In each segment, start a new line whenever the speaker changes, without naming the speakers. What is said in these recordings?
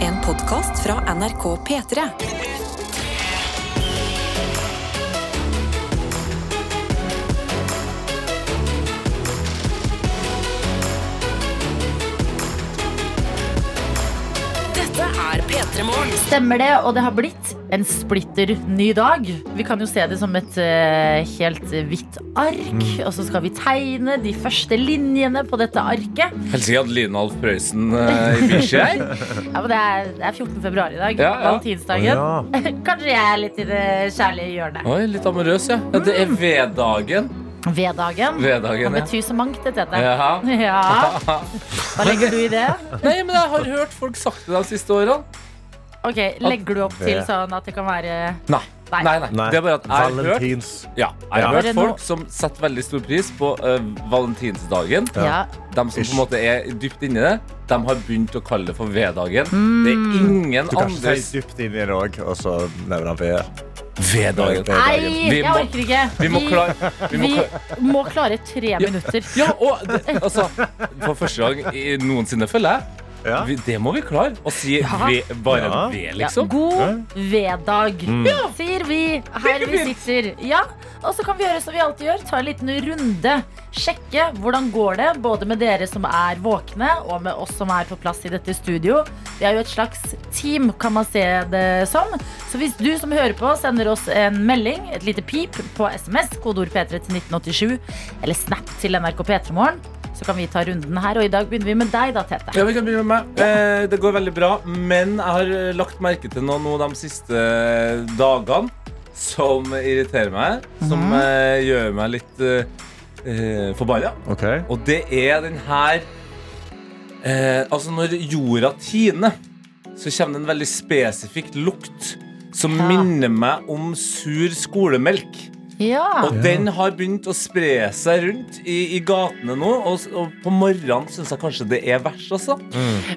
En podkast fra NRK P3. Dette er P3 Morgen.
Stemmer det, og det har blitt en splitter ny dag. Vi kan jo se det som et eh, helt hvitt ark,
Mm.
og så skal vi tegne de første linjene på dette arket.
Helst ikke hadde Line Alf Prøysen eh, i bikkje her.
Ja, men det er, det er 14. februar i dag.
Ja, ja.
Valentinsdagen.
Ja.
Kanskje jeg er litt i det kjærlige hjørnet.
Oi, litt amorøs, ja. ja. Det er V-dagen.
V-dagen.
V-dagen,
Kan
ja.
bety så mangt, dette.
ja.
Ja. Hva legger du i det?
Nei, men jeg har hørt folk sagt det de siste årene.
Ok, Legger du opp til sånn at det kan være
Nei.
Nei.
Nei, nei.
Nei,
Det er bare at jeg har hørt,
Valentins.
ja, jeg har
Ja.
hørt folk som setter veldig stor pris på eh, valentinsdagen.
Ja.
De som på en måte er dypt inni det, de har begynt å kalle det for V-dagen. Det er
Mm.
ingen
Du kan ikke
andres
si dypt inn i det òg, og så nevner han ved.
V-dagen.
Nei,
Vi
jeg
må-
orker ikke.
Vi må klare vi må
vi
klare-
må klare tre minutter.
Ja, og det, altså For første gang i- noensinne, føler jeg.
Ja.
Vi, det må vi klare. Å si ve, bare
Ja.
ve,
Ja,
liksom.
God veddag, sier vi her vi sitter. Ja, Og så kan vi gjøre som vi alltid gjør, ta en liten runde. Sjekke hvordan går det, både med dere som er våkne, og med oss som er på plass i dette studio. Vi er jo et slags team, kan man se det som. Så hvis du som hører på, sender oss en melding, et lite pip, på SMS, kodeord P3 til 1987, eller Snap til NRK P3morgen, så kan vi ta runden her. Og i dag begynner vi med deg, da, Tete.
Ja, vi kan begynne med meg. Eh, det går veldig bra, men jeg har eh, lagt merke til noe nå de siste dagene som irriterer meg, som
Mhm.
eh, gjør meg litt eh, eh, forbanna.
Ok.
Og det er den her eh, Altså, når jorda tiner, så kommer det en veldig spesifikk lukt som
Ja.
minner meg om sur skolemelk.
Ja.
Og den har begynt å spre seg rundt i, i gatene nå, og, s- og på morgenen syns jeg kanskje det er verst, altså.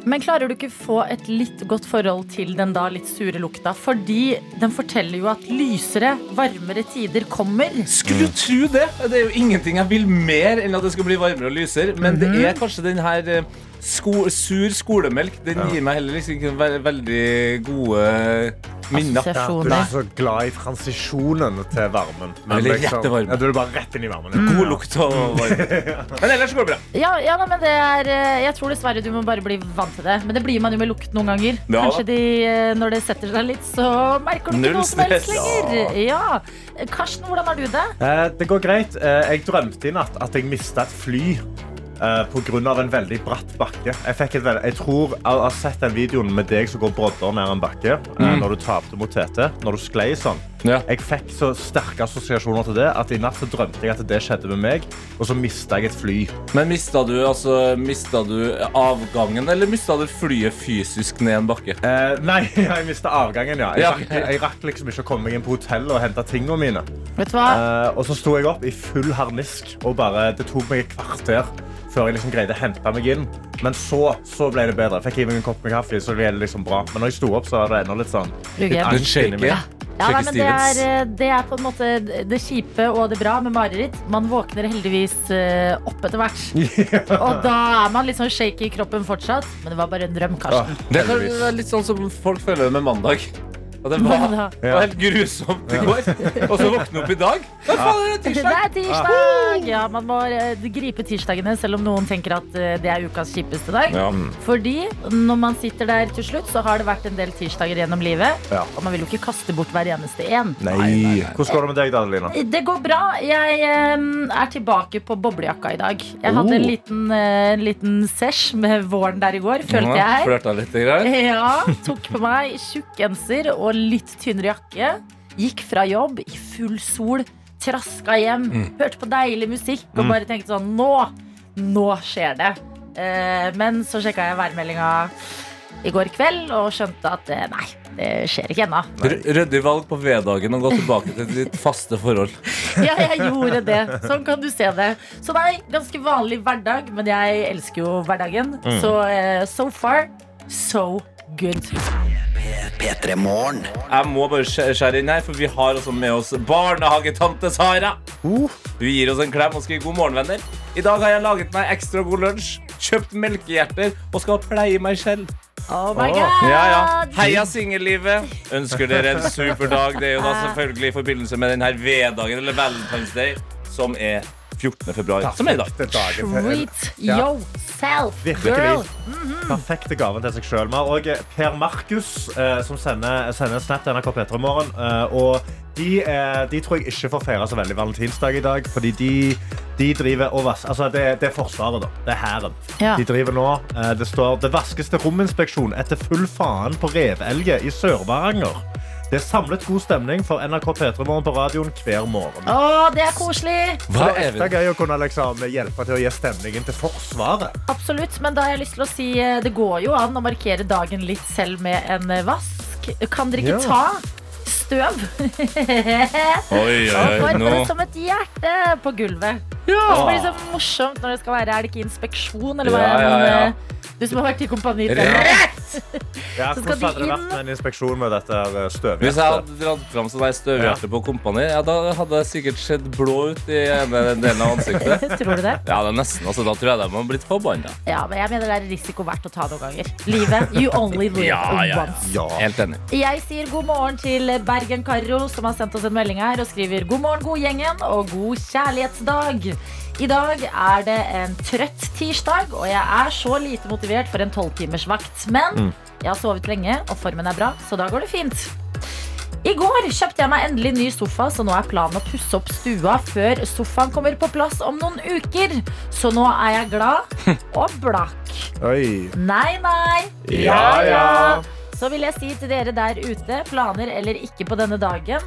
Men klarer du ikke få et litt godt forhold til den da litt sure lukta? Fordi den forteller jo at lysere, varmere tider kommer.
Skulle du tro det? Det er jo ingenting jeg vil mer enn at det skal bli varmere og lysere, men det er kanskje den her eh, sko sur skolemelk. Den gir meg heller liksom ikke ve veldig gode minner.
Ja, du er
Assosiasjoner.
ikke så glad i transisjonen til varmen.
Jeg vil
liksom-
rette varme.
Ja, du er bare rett inn i varmen. Mm.
God lukt og varme. Men ellers går det bra.
Ja, ja da, men det er eh, Jeg tror dessverre du må bare bli vant til det. Men det blir man jo med lukt noen ganger.
Ja.
Kanskje de, eh, når det setter seg litt, så merker du
Null
ikke noe som
stress.
helst lenger. Ja. Karsten, hvordan har du det?
Eh, det går greit. Eh, jeg drømte i natt at jeg mista et fly. eh, På grunn av en veldig bratt bakke. Jeg, fikk et veld... jeg tror jeg har sett den videoen med deg som går brodder ned en bakke. eh, Når du tapte mot Tete. Når du sklei sånn.
Ja.
Jeg fikk så sterke assosiasjoner til det at i natt så drømte jeg at det skjedde med meg. Og så mista jeg et fly.
Men mista du, altså, mista du avgangen, eller mista du flyet fysisk ned en bakke?
Eh, nei, jeg mista avgangen, ja. Jeg,
Ja.
rakk, jeg rakk liksom ikke å komme meg inn på hotellet og hente tingene mine.
Vet du hva?
Eh, og så sto jeg opp i full harnisk, og bare, det tok meg et kvarter før jeg liksom greide å hente meg inn. Men så, så ble det bedre. Fikk i meg en kopp med kaffe, så ble det liksom bra. Men når jeg sto opp, så var det ennå litt sånn
Ruggen.
litt angst inni meg.
Ja,
Ja, nei,
Sjekke
men det, er,
Stevens.
eh, det er på en måte det kjipe og det bra med mareritt. Man våkner heldigvis eh, opp etter hvert. Og da er man litt sånn shaky i kroppen fortsatt. Men det var bare en drøm,
Åh,
Karsten.
Det kan
heldigvis.
være litt sånn som folk føler det med mandag. Og det var,
Mandag.
det var helt grusomt i går. Og så våkne opp i dag. Hva faen er det
Det
tirsdag? Ah.
er tirsdag! Ja, man må eh, gripe tirsdagene, selv om noen tenker at eh, det er ukas kjipeste dag.
Ja.
Fordi når man sitter der til slutt, så har det vært en del tirsdager gjennom livet.
Ja.
Og man vil jo ikke kaste bort hver eneste en.
Nei. Hvordan går det med deg, da, Adelina?
Det går bra. Jeg eh, er tilbake på boblejakka i dag. Jeg hadde en
Oh.
liten, eh, en liten sesh med våren der i går, følte
Ja,
jeg.
Flørta litt. Greier.
Ja, Tok på meg tjukk genser og litt tynnere jakke. Gikk fra jobb i full sol, traska hjem,
Mm.
hørte på deilig musikk og bare tenkte sånn Nå! Nå skjer det. Eh, Men så sjekka jeg værmeldinga i går kveld og skjønte at eh, nei, det skjer ikke ennå.
R- Ryddig valg på V-dagen og gå tilbake til ditt faste forhold.
Ja, jeg gjorde det. Sånn kan du se det. Så nei, ganske vanlig hverdag, men jeg elsker jo hverdagen.
Mm.
Så eh, so far, so good.
Jeg må bare skjæ- skjære inn her, for vi har også med oss barnehagetante Sara.
Uh.
Hun gir oss en klem og skriver 'God morgen, venner'. I dag har jeg laget meg ekstra god lunsj, kjøpt melkehjerter og skal pleie meg selv.
Oh my god!
Ja, ja. Heia singellivet! Ønsker dere en super dag. Det er jo da selvfølgelig i forbindelse med denne V-dagen, eller Valentine's Day, som er 14. februar. Som er i dag.
Perfekte
Treat
Ja.
yourself, girl!
Virkelig. gaven til seg sjøl. Vi har òg Per Markus, eh, som sender, sender en snap til NRK P3 i morgen. Eh, og de, eh, de tror jeg ikke får feire så veldig valentinsdag i dag, fordi de, de driver og vas Altså, det, det er Forsvaret, da. Det er Hæren.
Ja.
De driver nå. Eh, det står 'Det vaskes til rominspeksjon etter full faen på revelget i Sør-Varanger'. Det er samlet god stemning for NRK P3 Morgen på radioen hver morgen.
Å, det er koselig!
Så det er ekstra gøy å kunne liksom, hjelpe til å gi stemningen til Forsvaret.
Absolutt, men da har jeg lyst til å si eh, det går jo an å markere dagen litt selv med en eh, vask. Kan dere ikke
Ja.
ta støv
Oi,
og
oi,
forme
Eh, nå.
det som et hjerte på gulvet? Det blir så morsomt når det skal være Er det ikke inspeksjon, eller hva?
Ja, ja, ja.
men, eh, Du som har vært i kompani.
Rett.
Ja,
Så skal
hvordan
de
hadde det
inn-
vært med en inspeksjon med dette her eh,
Hvis jeg
støvhjertet?
hadde dratt fram sånn der støvhjerte på kompani, ja, da hadde jeg sikkert sett blå ut i ene delen av ansiktet.
Tror du det?
Ja, det er nesten, altså, Da tror jeg de har blitt forbanna.
Ja, men jeg mener det er risiko verdt å ta noen ganger. Livet, you only live
Ja, ja, ja.
once.
Ja.
Helt enig.
Jeg sier god morgen til Bergen Karro, som har sendt oss en melding her og skriver god morgen, god gjengen og god kjærlighetsdag. I dag er det en trøtt tirsdag, og jeg er så lite motivert for en tolvtimersvakt. Men jeg har sovet lenge, og formen er bra, så da går det fint. I går kjøpte jeg meg endelig ny sofa, så nå er planen å pusse opp stua før sofaen kommer på plass om noen uker. Så nå er jeg glad og blakk.
Oi.
Nei, nei.
Ja, ja.
Så vil jeg si til dere der ute, planer eller ikke på denne dagen.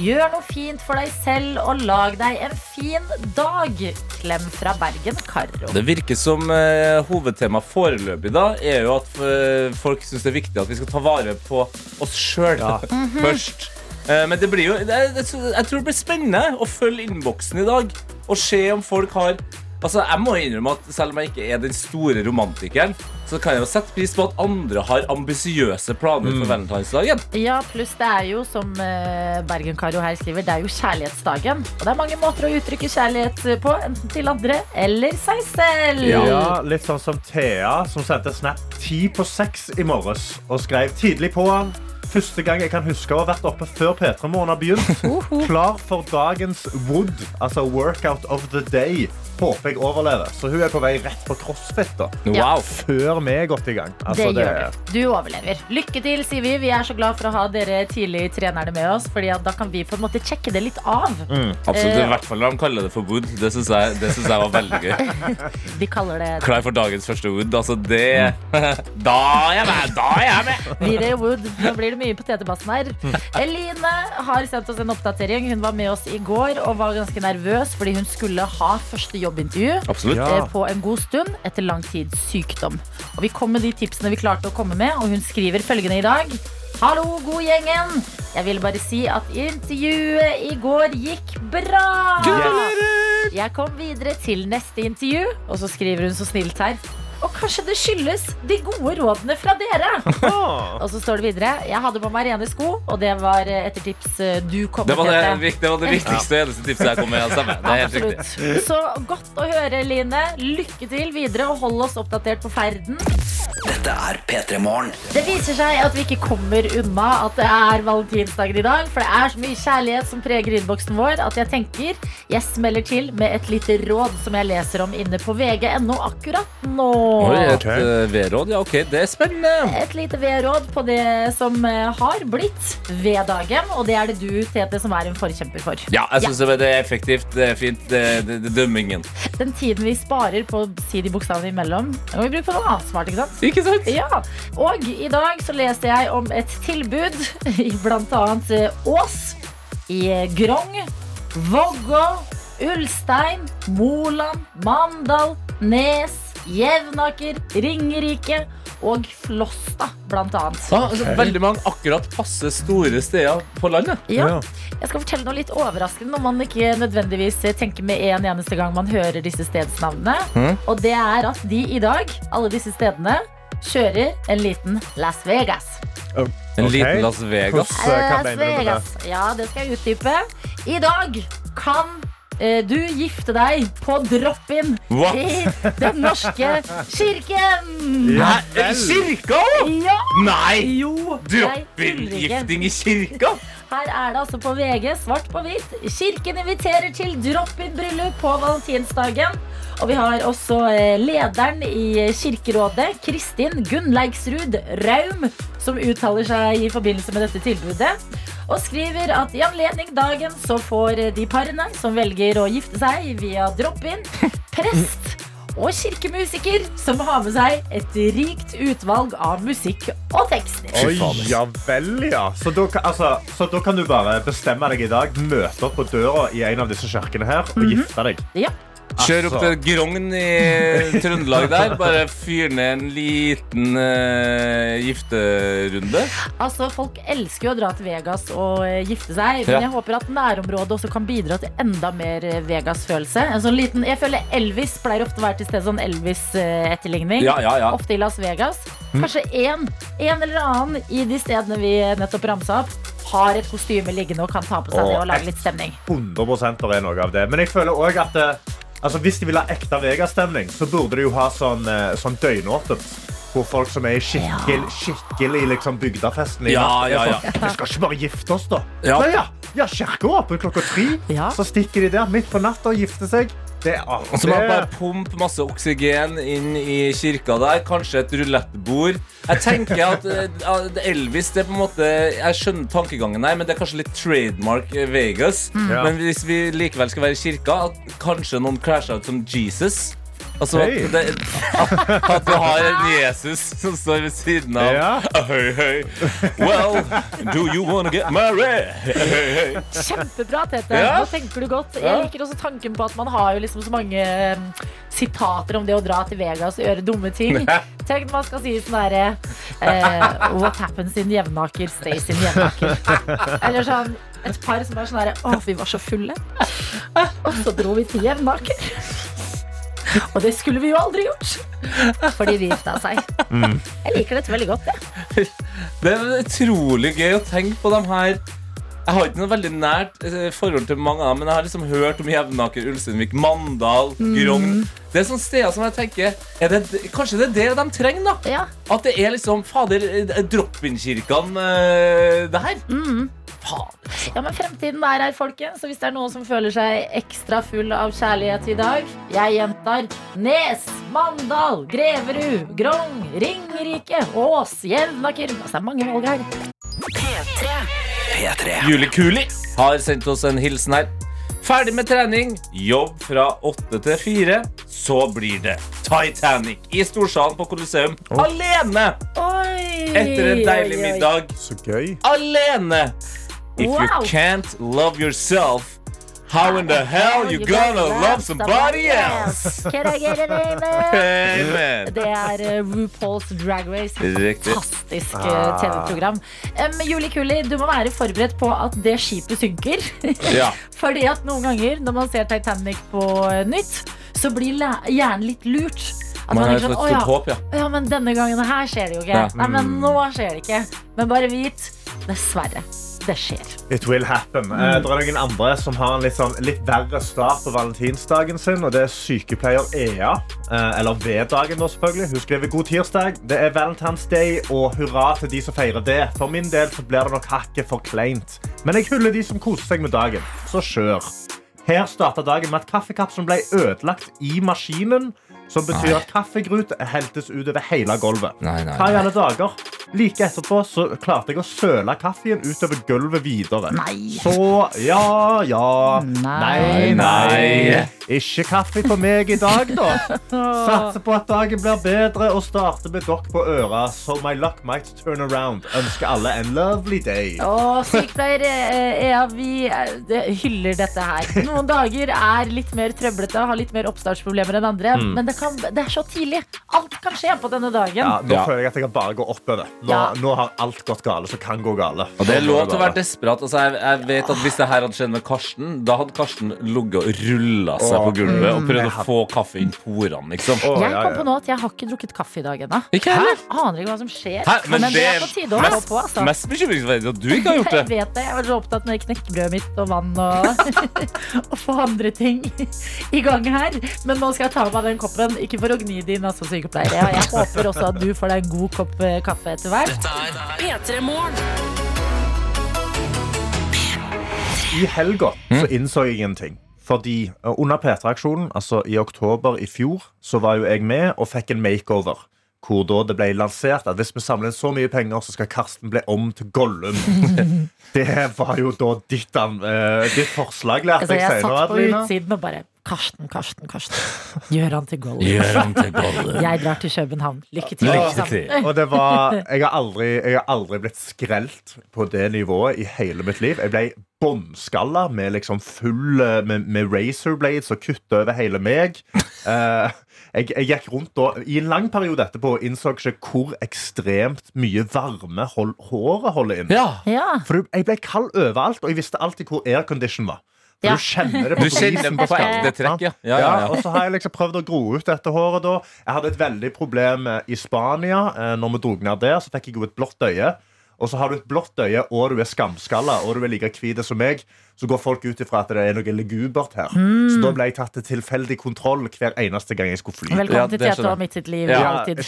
Gjør noe fint for deg selv og lag deg en fin dag. Klem fra Bergen, Karo.
Det virker som eh, hovedtemaet foreløpig da er jo at eh, folk syns det er viktig at vi skal ta vare på oss sjøl først. Eh, men det blir jo det, er- det, Jeg tror det blir spennende å følge innboksen i dag og se om folk har Altså, jeg må innrømme at Selv om jeg ikke er den store romantikeren, så kan jeg jo sette pris på at andre har ambisiøse planer for valentinsdagen.
Ja, pluss det er jo, som eh, Bergen Karo her skriver, det er jo kjærlighetsdagen. Og det er mange måter å uttrykke kjærlighet eh, på, enten til andre eller seg selv.
Ja, litt sånn som Thea, som sendte snap ti på seks i morges og skrev tidlig på han. Første gang jeg kan huske å ha vært oppe før P3 Morgen har begynt. Klar for dagens wood, altså workout of the day. Håper jeg overlever. Så hun er på vei rett på crossfit da.
Ja.
Wow.
Før vi er godt i gang. Altså,
det gjør du. Du overlever. Lykke til, sier vi. Vi er så glad for å ha dere tidlig trenerne med oss, Fordi at da kan vi på en måte sjekke det litt av.
Mm.
Absolutt.
Eh.
I hvert fall når de kaller det for Wood. Det syns jeg, det synes jeg var veldig gøy.
Vi kaller det
Klar for dagens første Wood. Altså, det Da er jeg med! Da er jeg med!
Videre Wood. Nå blir det mye på TT-bassen her. Eline har sendt oss en oppdatering. Hun var med oss i går og var ganske nervøs fordi hun skulle ha første jobbintervju.
Absolutt.
Ja.
eh, På en god stund etter lang tids sykdom. Og vi kom med de tipsene vi klarte å komme med, og hun skriver følgende i dag. Hallo, god gjengen. Jeg vil bare si at intervjuet i går gikk bra. Jeg kom videre til neste intervju, og så skriver hun så snilt her. Og kanskje det skyldes de gode rådene fra dere. Og så står det videre Jeg hadde på meg rene sko, og det var eh, etter tips eh, du kom
Det var
med,
det,
Tete.
vik- det var det viktigste og eneste tipset jeg kom med. Stemme. Det er helt riktig.
Absolutt. Så godt å høre, Line. Lykke til videre, og hold oss oppdatert på ferden.
Dette er P3 Morgen.
Det viser seg at vi ikke kommer unna at det er valentinsdagen i dag. For det er så mye kjærlighet som preger innboksen vår at jeg tenker jeg smeller til med et lite råd som jeg leser om inne på vg.no akkurat nå.
Oi, et
Ok.
eh, V-råd. Ja, OK, det er spennende.
et lite V-råd på det som eh, har blitt V-dagen. Og det er det du, Tete, som er en forkjemper for.
Ja, jeg syns det er effektivt. Det er fint. Det, det, det er dømmingen.
Den tiden vi sparer på å si de bokstavene imellom, kan vi bruke på noe annet smart. ikke sant?
Ikke sant?
Ja, Og i dag så leste jeg om et tilbud i bl.a. Ås, i eh, Grong, Vågå, Ulstein, Moland, Mandal, Nes, Jevnaker, Ringerike og Flåstad, blant annet.
Ah, altså, Veldig mange akkurat passe store steder på landet.
Ja. Jeg skal fortelle noe litt overraskende når man ikke nødvendigvis tenker med en eneste gang man hører disse stedsnavnene. Og det er at de i dag, alle disse stedene, kjører en liten Las Vegas.
En
Ok.
liten
eh,
Las Vegas.
Hvordan- Så hva mener du med det?
Ja, det skal jeg utdype. I dag kan eh, du gifte deg på drop-in
What?
i Den norske kirken.
Ja
Hæ? I kirka òg?!
Ja!
Nei!
Jo, jeg tuller ikke.
Drop-in-gifting i kirka?
Her er det altså på VG, svart på hvitt. Kirken inviterer til drop-in-bryllup på valentinsdagen. Og vi har også eh, lederen i Kirkerådet, Kristin Gunnleiksrud Raum, som uttaler seg i forbindelse med dette tilbudet. Og skriver at i anledning dagen så får eh, de parene som velger å gifte seg via drop-in, prest og kirkemusiker som har med seg et rikt utvalg av musikk og tekster.
Oi,
faen, ass.
ja vel, ja. Så da, kan- altså, så da kan du bare bestemme deg i dag, møte opp på døra i en av disse kjerkene her og gifte deg.
Mhm. Ja.
Kjør opp til
Altså.
Grogn i Trøndelag der. Bare fyr ned en liten eh, gifterunde.
Altså, Folk elsker jo å dra til Vegas og eh, gifte seg. Men
Ja.
jeg håper at nærområdet også kan bidra til enda mer eh, Vegas-følelse. En sånn liten, Jeg føler Elvis pleier ofte å være til stede sånn Elvis-etterligning.
Ja, Mm. ja, ja.
Ofte i Las Vegas. Kanskje én en eller annen i de stedene vi nettopp ramsa opp, har et kostyme liggende og kan ta på seg det
Åh,
og lage litt stemning.
100 der er noe av det. Men jeg føler også at eh, altså, hvis de vil ha ekte Vegas-stemning, så burde de jo ha sånn, eh, sånn døgnåpent. Hvor folk som er i skikkelig, skikkelig liksom bygdafesten i
Ja,
natt, er
ja, ja.
sånn, Vi skal ikke bare gifte oss, da.
Ja.
Nei, ja. ja kirka er åpen klokka tre.
Ja.
Så stikker de der midt på natta og gifter seg. Det er
Og så må man bare
artig.
pumpe masse oksygen inn i kirka der. Kanskje et rulettbord. Jeg tenker at eh, at Elvis det er på en måte Jeg skjønner tankegangen her, men det er kanskje litt trademark eh, Vegas.
Mm. Ja.
Men hvis vi likevel skal være i kirka, at kanskje noen crasher ut som Jesus. Altså at,
Hei.
det, at du har en Jesus som står ved siden av.
Ja.
Hei, hei. Well, do you wanna get married? Hei, hei.
Kjempebra, Tete.
Ja.
Nå tenker du godt.
Ja.
Jeg liker også tanken på at man har jo liksom så mange mm, sitater om det å dra til Vegas og gjøre dumme ting. Tenk når man skal si sånn derre eh, What happens in Jevnaker stays in Jevnaker. Eller sånn et par som er sånn derre Å, vi var så fulle. Og så dro vi til Jevnaker. Og det skulle vi jo aldri gjort. Fordi de gifta seg.
Mm.
Jeg liker dette veldig godt. Jeg.
Det er utrolig gøy å tenke på dem her. Jeg har ikke noe veldig nært eh, forhold til mange av dem, men jeg har liksom hørt om Jevnaker, Ulsteinvik, Mandal, Grogn. Det er sånne steder som jeg tenker er det, Kanskje det er det de trenger, da?
Ja.
At det er liksom Fader, eh, drop-in-kirkene, eh, det her. Fader.
Ja, men fremtiden er her, folkens. Så hvis det er noen som føler seg ekstra full av kjærlighet i dag, jeg gjentar Nes, Mandal, Greverud, Grong, Ringerike, Ås, Jevnaker Altså, det er mange valg her.
P3
Juli Kuli har sendt oss en hilsen her. Ferdig med trening, jobb fra åtte til fire. Så blir det Titanic i storsalen på Colosseum alene
Oi!
etter en deilig
oi, oi.
middag.
Så gøy.
alene. If
Wow. Ah,
you can't love yourself, how in the hell you gonna love somebody else?
Can I get an amen?
Amen.
Det er eh, RuPaul's Drag Race.
Riktig.
Fantastisk
Ah.
eh, TV-program. Um, Juli Kuli, du må være forberedt på at det skipet synker.
Ja.
Fordi at noen ganger når man ser Titanic på eh, nytt, så blir læ- hjernen litt lurt. At
Man har et
tenker sånn, «Å
stort
ja,
håp, ja.
å ja, men denne gangen her skjer det jo ikke.
Ja. Mm.
Nei, men nå skjer det ikke. Men bare vit, dessverre, det skjer.
It will happen. Eh, det er noen andre som har en litt, sånn, litt verre start på valentinsdagen sin. og Det er sykepleier Ea. Eh, eller V-dagen, da, selvfølgelig. Hun skriver god tirsdag. Det er Valentine's Day, og hurra til de som feirer det. For min del så blir det nok hakket for kleint. Men jeg hyller de som koser seg med dagen. Så kjør. Her starta dagen med at kaffekapselen ble ødelagt i maskinen. Som betyr at kaffegrut heltes utover hele gulvet.
Nei, nei,
Hva i alle dager? Like etterpå så klarte jeg å søle kaffen utover gulvet videre.
Nei.
Så ja, ja.
Nei.
nei. nei. Ikke kaffe for meg i dag, da. Satser på at dagen blir bedre og starter med dere på øra. So my luck might turn around. Ønsker alle en lovely day.
Å, sykepleier eh, Ea, vi eh, det- hyller dette her. Noen dager er litt mer trøblete og har litt mer oppstartsproblemer
Mm.
enn andre. Men det, kan, det er så tidlig. Alt kan skje på denne dagen.
Ja, nå
Ja.
føler jeg at jeg kan bare gå oppover. Nå,
Ja.
nå har alt gått gale som kan gå gale.
Og det er
Nå
lov
går
til å
gale.
være desperat. Altså, jeg, jeg vet at Hvis det her hadde skjedd med Karsten, da hadde Karsten ligget og rulla seg
Åh,
på gulvet og prøvd å
jeg hadde-
få kaffe inn porene. liksom
Å,
Jeg
ja,
kom
ja.
på nå at jeg har ikke drukket kaffe i dag ennå.
Ikke heller.
Hæ? Aner ikke hva som skjer.
Hæ, men, det
er på tide å
mest,
få på, altså.
mest bekymringsverdig at du ikke har gjort
Jeg
det.
vet det, jeg var så opptatt med knekkebrødet mitt og vann og, og få andre ting i gang her. Men nå skal jeg ta med meg den koppen, ikke for å gni din altså, sykepleier. Jeg, jeg håper også at du får deg en god kopp eh, kaffe etter hvert.
P3 Morgen.
I helga
Mm.
så innså jeg en ting. Fordi eh, under P3-aksjonen, altså i oktober i fjor, så var jo jeg med og fikk en makeover. Hvor da det ble lansert at hvis vi samler inn så mye penger, så skal Karsten bli om til Gollum. det var jo da ditt, an- eh, ditt forslag, lærte
Altså, jeg
jeg senere.
satt på
Adelina.
utsiden og bare Karsten, Karsten, Karsten. Gjør han til gold.
Gjør han til bolle.
Jeg drar til København. Lykke til.
Lykke
liksom.
til.
Og det var jeg har, aldri, jeg har aldri blitt skrelt på det nivået i hele mitt liv. Jeg ble bånnskalla med liksom full eh, Med, med razorblades og kutt over hele meg. Eh, jeg, jeg gikk rundt da i en lang periode etterpå og innså ikke hvor ekstremt mye varme hold, håret holder inn.
Ja.
Ja.
For du- jeg ble kald overalt, og jeg visste alltid hvor aircondition var. For
Ja.
Du kjenner det
Du
på
kjenner
brisen
på
skallen.
det trekk, ja. Ja,
Ja,
ja, ja.
Og så har jeg liksom prøvd å gro ut dette håret. da Jeg hadde et veldig problem eh, i Spania. Eh, Når vi dro ned der, så fikk jeg jo et blått øye. Og så har du et blått øye, og du er skamskalla, og du er like hvit som meg, så går folk ut ifra at det er noe legubert her. Så
Hmm.
da ble jeg tatt til tilfeldig kontroll hver eneste gang jeg skulle fly.
Ja,
Velkommen til
det
Tete
skjønner
og mitt sitt liv.
Ja.
Alltid.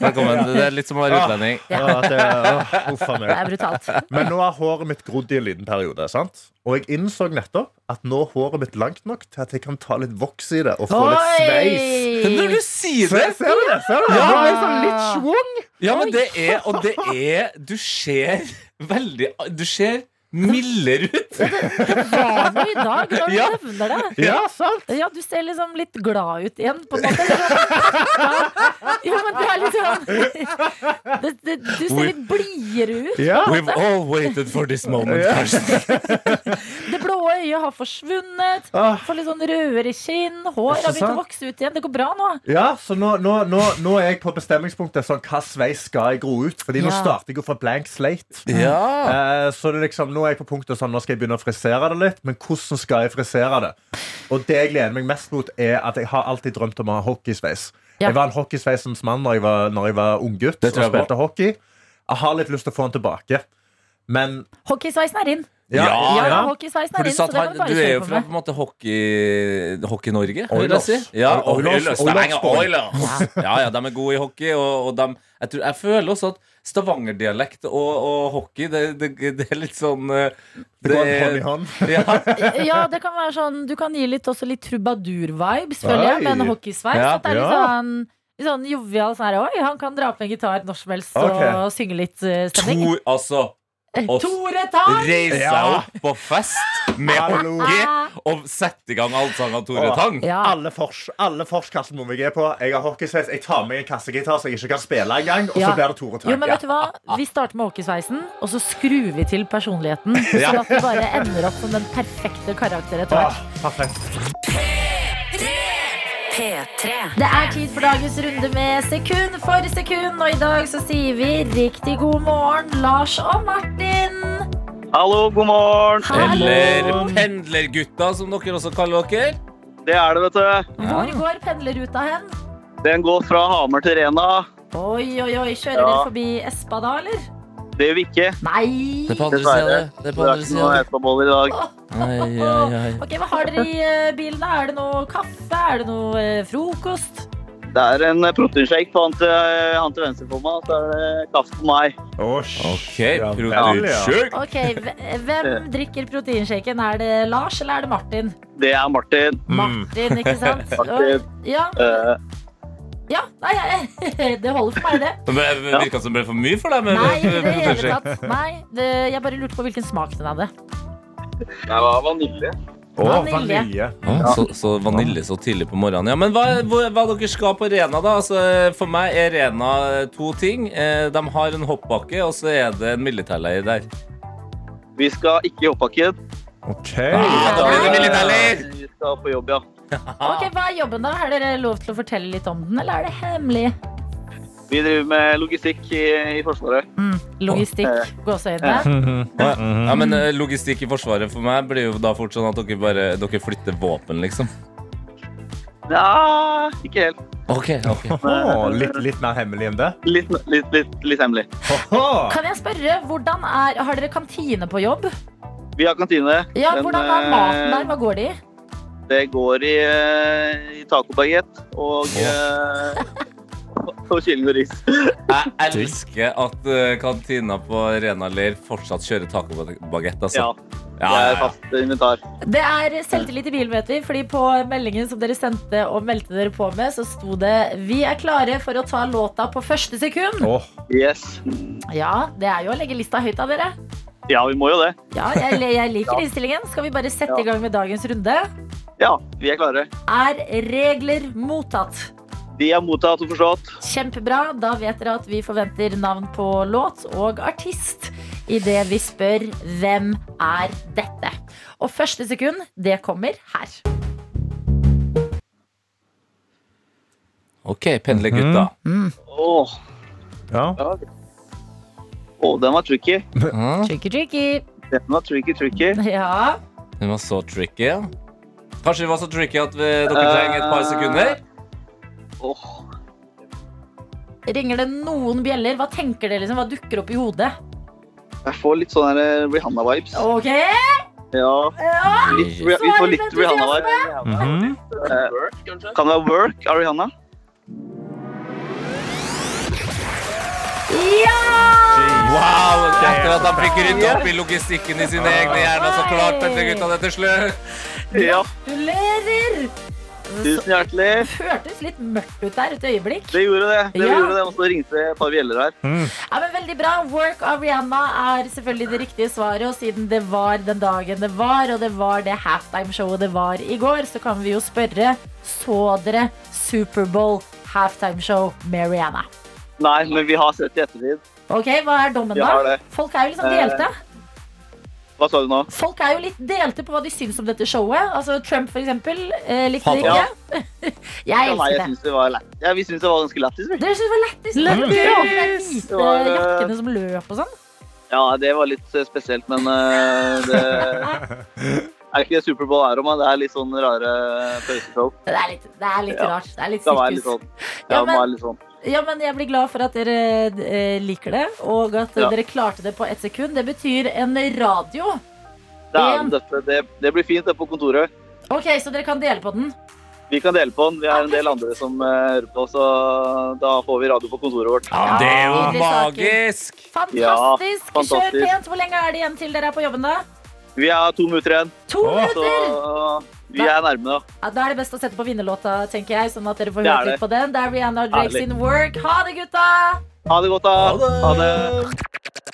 Velkommen. Det er litt som å være utlending.
Ja, det, åh, uff a meg.
Det er brutalt.
Men nå har håret mitt grodd i en liten periode. sant? Og jeg innså nettopp at nå er håret mitt langt nok til at jeg kan ta litt voks i det og få litt sveis.
Når du
Oi!
sier
Se,
det
ser du det? Ser du det?
Ja.
Nå er jeg sånn litt schwung.
Ja, men det er Og det er Du ser veldig Du ser mildere ut.
Var du i dag når du
Ja.
nevner det?
Ja, sant?
Ja, du ser liksom litt glad ut igjen, på en måte. Ja, men du er litt sånn det, det, Du ser litt blidere ut.
Ja.
We've all waited for this moment, Karsten.
Det blå øyet har forsvunnet.
Ah.
Får litt sånn rødere kinn. Hår har
Ikke
begynt
sant?
å vokse ut igjen. Det går bra nå.
Ja, så nå, nå, nå, nå er jeg på bestemmingspunktet sånn, hva sveis skal jeg gro ut? Fordi nå
Ja.
starter jeg jo fra blank slate.
Ja.
Ah.
Eh, så det er liksom, nå er jeg på punktet sånn, nå skal jeg begynne å frisere det litt, men hvordan skal jeg frisere det? Og det jeg gleder meg mest mot er at jeg har alltid drømt om å ha hockeysveis.
Ja.
Jeg var en hockeysveisens mann når jeg var, når jeg var unggutt og
Det tror jeg på.
spilte hockey. Jeg har litt lyst til å få den tilbake. Men
Hockeysveisen er inn.
Ja,
Ja,
Ah, ja.
hockeysveisen
For
er
du,
inn,
sa
så
at
det kan
han, du
du bare
er jo
kjøre
fra
på
på
med.
en måte hockey- Hockey-Norge, vil jeg
Oilers.
si. Ja,
Oil- Oilers.
Oilers. Stavanger
Oilers.
Oilers. Ja, ja, de er gode i hockey, og, og de jeg, tror, jeg føler også at Stavanger-dialekt og, og hockey, det, det, det er litt sånn eh,
det går hånd i hånd.
Ja,
Ja, det kan være sånn Du kan gi litt, også litt trubadur-vibes, føler jeg, med en
Oi.
hockeysveis.
Ja.
At det er litt
Ja.
sånn litt Sånn jovial sånn her Oi, han kan dra opp en gitar når som helst og
Ok.
synge litt eh, stemning.
to, altså
Eh,
oss.
Tore Tang!
Reise seg
Ja.
opp på fest med
Hallo.
hockey og sette i gang allsang av Tore Tang.
Ja.
Alle fors, alle forskassen må jeg er på. Jeg har hockeysveis. Jeg tar med en kassegitar så jeg ikke kan spille engang. Og
Ja.
så blir det Tore Tang.
Jo, men
Ja.
vet du hva? Vi starter med hockeysveisen, og så skrur vi til personligheten. Så
Ja.
at det bare ender opp som den perfekte karakter etter
Ah,
hvert.
perfekt.
P3.
Det er tid for dagens runde med sekund for sekund, og i dag så sier vi riktig god morgen, Lars og Martin.
Hallo, god morgen.
Eller Pendlergutta, som dere også kaller dere.
Det er det, vet du.
Hvor går pendlerruta hen?
Den går fra Hamar til Rena.
Oi, oi, oi. Kjører
Ja.
dere forbi Espa da, eller?
Det gjør vi ikke.
Nei!
Det er på andre
Dessverre.
sida. Det er
Det
på
er
andre
ikke noe
sida.
Espa-boll i dag.
Ai, ai, ai.
Ok, Hva har dere i eh, bilen? da? Er det noe kaffe? Er det noe eh, frokost?
Det er en eh, proteinshake på han til, han til venstre for meg, og så er det kaffe på meg.
Å, sh-
OK,
Ja, vel, ja.
produksjon.
Ok, hve- Hvem drikker proteinshaken? Er det Lars eller er det Martin?
Det er Martin.
Martin, ikke sant?
Mm. Martin.
Og- Ja,
Eh,
ja. Nei, jeg- det holder for meg, det.
Men Det virka som det ble for mye for deg. med-
Nei, ikke det i
med-
hele tatt. Nei, det, jeg bare lurte på hvilken smak den hadde.
det var vanilje.
Å,
Vanilje.
vanilje.
Ah, så, så vanilje så tidlig på morgenen. Ja, men hva, hva, hva dere skal på Rena, da? Altså, for meg er Rena to ting. Eh, De har en hoppbakke, og så er det en militærleir der.
Vi skal ikke i hoppbakken.
OK.
Ah, da blir det militærleir!
Vi skal på jobb, ja.
Ok, Hva er jobben, da? Har dere lov til å fortelle litt om den, eller er det hemmelig?
Vi driver med logistikk i, i Forsvaret.
Mm, Logistikk. Gåseøyne.
Ja, men eh, Logistikk i Forsvaret for meg blir jo da fort sånn at dere bare dere flytter våpen, liksom.
Nja, ikke helt.
Ok, ok
Åh, litt, litt mer hemmelig enn det.
Litt, litt, litt, litt hemmelig.
Åhå!
Kan jeg spørre, hvordan er, Har dere kantine på jobb?
Vi har kantine.
Ja,
Den,
Hvordan er maten
eh,
der? Hva går det i?
Det går i, eh, i tacobagett og, eh, og kylling og ris.
Jeg elsker at eh, kantina på Rena Leir fortsatt kjører tacobagett. Altså.
Ja, det er fast inventar.
Det er selvtillit i bilen, vet vi. Fordi på meldingen som dere sendte og meldte dere på med, så sto det 'Vi er klare for å ta låta på første sekund'.
Åh,
Yes.
Ja, det er jo å legge lista høyt av dere.
Ja, vi må jo det.
Ja, jeg, jeg liker innstillingen. Skal vi bare sette i gang med dagens runde?
Ja, vi er klare.
Er regler mottatt?
De er mottatt og forstått.
Kjempebra. Da vet dere at vi forventer navn på låt og artist idet vi spør 'Hvem er dette?' Og første sekund, det kommer her.
OK, pendlergutta.
Åh,
ja.
ja. Åh, den var tricky.
Mm.
Tricky, tricky.
Den var tricky, tricky.
Ja.
Den var så tricky. ja. Kanskje vi var så tricky at vi, dere trenger et par sekunder?
Åh,
Ringer det noen bjeller? Hva tenker dere? Liksom? Hva dukker opp i hodet?
jeg får litt sånn her Rihanna-vibes.
Ok!
Ja,
Ja,
litt, vi vi får litt Rihanna-vibes.
Mhm.
Kan det være Work av Rihanna?
Wow! Etter at han fikk rydda opp i logistikken i sine egne hjerner, så klarte pendlergutta det til slutt.
Ja,
gratulerer!
tusen hjertelig.
Hørtes litt mørkt ut der et øyeblikk.
Det gjorde det. Det
Ja.
gjorde det, og så ringte det et par bjeller her.
Ja, men veldig bra. Work av Rihanna er selvfølgelig det riktige svaret. Og siden det var den dagen det var, og det var det halftime-showet det var i går, så kan vi jo spørre Så dere Superbowl halftime-show med Rihanna?
Nei, men vi har sett i ettertid.
Ok, Hva er dommen,
Vi har
da?
det.
Folk er jo liksom
Eh,
delte.
Hva sa du nå?
Folk er jo litt delte på hva de syns om dette showet. Altså Trump, for eksempel. Eh, likte det
Han-
ikke. jeg
Ja, nei,
elsker
jeg
det.
syns det var lætt. Ja, vi syns det var ganske lættis. vi.
Dere syns det var lættis. Lættis!
Det var, eh,
Jakkene som løp og sånn.
Ja, det var litt eh, spesielt, men eh, det er ikke det Superbowl er om. da. Det er litt sånn rare pauseshow.
Det er litt, det er litt
Ja.
rart. Det er litt
Det var litt
sirkus.
sånn.
Ja,
Ja,
men-
det var litt sånn.
Ja, men jeg blir glad for at dere eh, liker det, og at eh,
Ja.
dere klarte det på ett sekund. Det betyr en radio.
Det, er,
En.
dette, det, det blir fint, det på kontoret.
Ok, Så dere kan dele på den.
Vi kan dele på den. Vi er en del andre som eh, hører på, så da får vi radio på kontoret vårt.
Ja, det er jo
Nydelig saker.
magisk!
Fantastisk.
fantastisk.
Kjør pent. Hvor lenge er det igjen til dere er på jobben, da?
Vi har to minutter igjen,
To
Åh.
så
minutter!
vi er nærme, da.
Ja, da er det best å sette på vinnerlåta, tenker jeg. Sånn at dere får
Det er
hørt
det.
litt på den. Det er Rihanna og Drake
Herlig.
sin Work. Ha det, gutta!
Ha det godt, da. Ha det.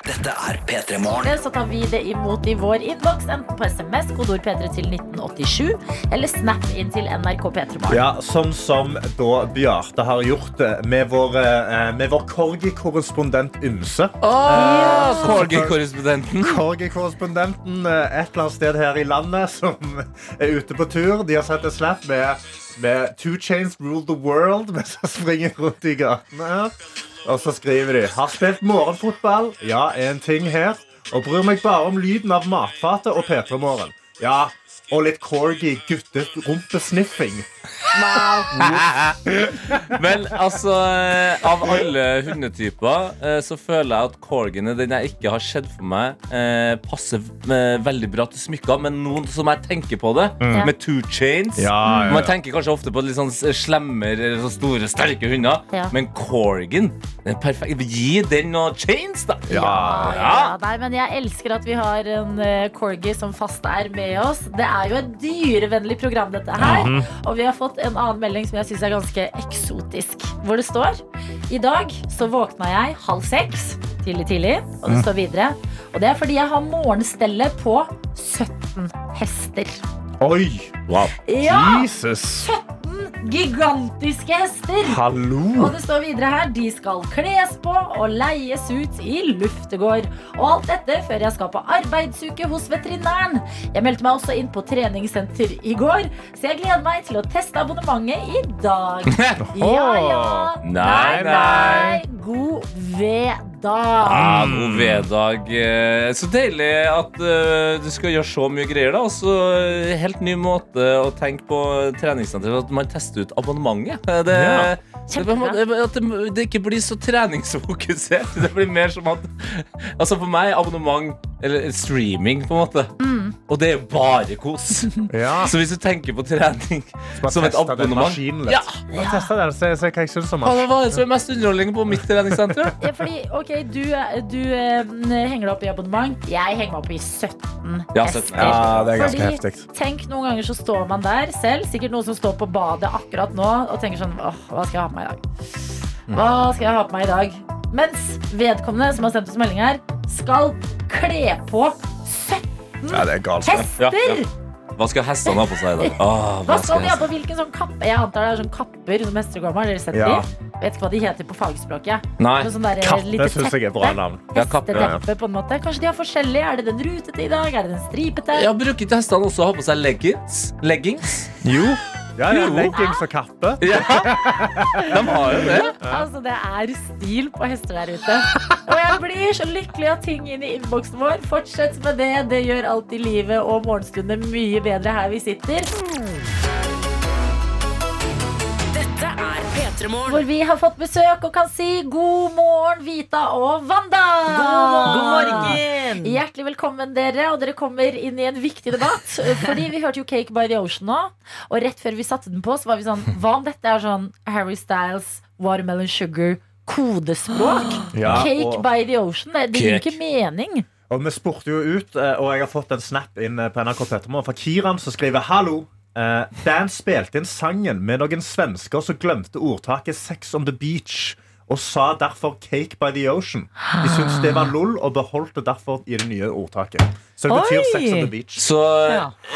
Dette er P3 Morgen.
Så tar vi det imot i vår innboks, enten på SMS, kodord P3 til 1987, eller Snap inn til NRK P3 Morgen.
Ja, sånn som da Bjarte har gjort det med vår, eh, med vår korgi-korrespondent Ymse.
Åh, Corgi-korrespondenten.
Korgi-korrespondenten eh, et eller annet sted her i landet som er ute på tur. De har sett en slap med, med Two Chains Rule the World mens de springer rundt i gatene her. Og så skriver de Har spilt morgenfotball. Ja, en ting her. Og bryr meg bare om lyden av matfatet og P3-morgen. Ja, og litt corgi-gutterumpesniffing.
Vel, altså, eh, av alle hundetyper eh, så føler jeg at corgiene, den jeg ikke har sett for meg, eh, passer eh, veldig bra til smykker. Men noen som jeg tenker på det,
Ja.
med two chains
Mm.
Man tenker kanskje ofte på litt sånn s- slemmer eller så store, sterke hunder.
Ja.
Men corgien, den er perfekt. Gi den noen chains, da.
Ja, ja.
Ja.
Nei, men jeg elsker at vi har en eh, corgi som fast er med oss. Det er jo et dyrevennlig program, dette her. Og vi har fått en annen melding som jeg syns er ganske eksotisk. Hvor det står I dag så våkna jeg halv seks tidlig, tidlig. Og det står videre. Og det er fordi jeg har morgenstellet på 17 hester.
Oi!
Wow.
Ja!
Jesus!
17 Mm, gigantiske hester.
Hallo!
Og det står videre her de skal kles på og leies ut i luftegård. Og alt dette før jeg skal på arbeidsuke hos veterinæren. Jeg meldte meg også inn på treningssenter i går, så jeg gleder meg til å teste abonnementet i dag. Ja, ja.
Nei, nei. Ah,
God V-dag.
Ja, god veddag. Eh, Så deilig at eh, du skal gjøre så mye greier, da. Og så eh, helt ny måte å tenke på treningssenter At man tester ut abonnementet. Eh, Det,
Ja.
det, på en måte- at det, det ikke blir så treningsfokusert. Det blir mer som at Altså for meg, abonnement eller streaming, på en måte. Og det er bare kos.
Ja.
Så hvis du tenker på trening
Bare
som et
teste den
abonnement
maskinen litt.
Ja!
Bare teste den, se, se hva jeg syns om
Faen,
den.
Hva var det som er mest underholdning på mitt treningssenter? da?
Ja, fordi, ok, du, eh, du eh, henger deg opp i abonnement. Jeg henger meg opp i 17
Ja,
hester.
17, ja.
det
Fordi- Tenk, noen ganger så står man der selv, sikkert noen som står på badet akkurat nå og tenker sånn, åh, hva skal jeg ha på meg i dag?
Mm.
Hva skal jeg ha på meg i dag? Mens vedkommende som har sendt oss melding her, skal kle på 17
Ja, det er galskap.
hester!
Ja, ja. Hva skal hestene ha på seg i dag? Ah,
Hva skal de ha
hestene-
på hvilken sånn kappe? Jeg antar det er sånn kapper som hester går med, har dere sett
Ja.
de? Vet ikke hva de heter på fagspråket.
Nei.
Noe sånn der, eh,
Kappe
lite
syns jeg er
teppe.
bra navn.
Ja, kappe, ja, ja.
Hesteteppe på en måte. Kanskje de har forskjellige. Er det den rutete i dag? Er det den stripete?
Ja, bruker ikke hestene også å ha på seg leggings? Leggings?
Jo. Ja, ja,
Jo.
leggings og kappe.
Ja, de har jo det.
Altså, det er stil på hester der ute. Og jeg blir så lykkelig av ting inn i innboksen vår. Fortsett med det. Det gjør alltid livet og morgenstundene mye bedre her vi sitter.
Dette er P3
Hvor
Morgen.
vi har fått besøk og kan si god morgen, Vita og Wanda.
God morgen!
Hjertelig velkommen, dere. Og dere kommer inn i en viktig debatt. Fordi vi hørte jo Cake by the Ocean nå. Og rett før vi satte den på, så var vi sånn Hva om dette er sånn Harry Styles, Watermelon Sugar, kodespråk?
Ja,
Cake
og-
by the Ocean. Det, det gir jo
Cake.
ikke mening.
Og vi spurte jo ut, eh, og jeg har fått en snap inn eh, på NRK Petermorgen fra Kiran som skriver Hallo. eh, Dan spilte inn sangen med noen svensker som glemte ordtaket Sex on the beach. Og sa derfor Cake by the Ocean. De syntes det var lol og beholdt det derfor i det nye ordtaket. Så det betyr
Oi!
Sex on the beach.
Så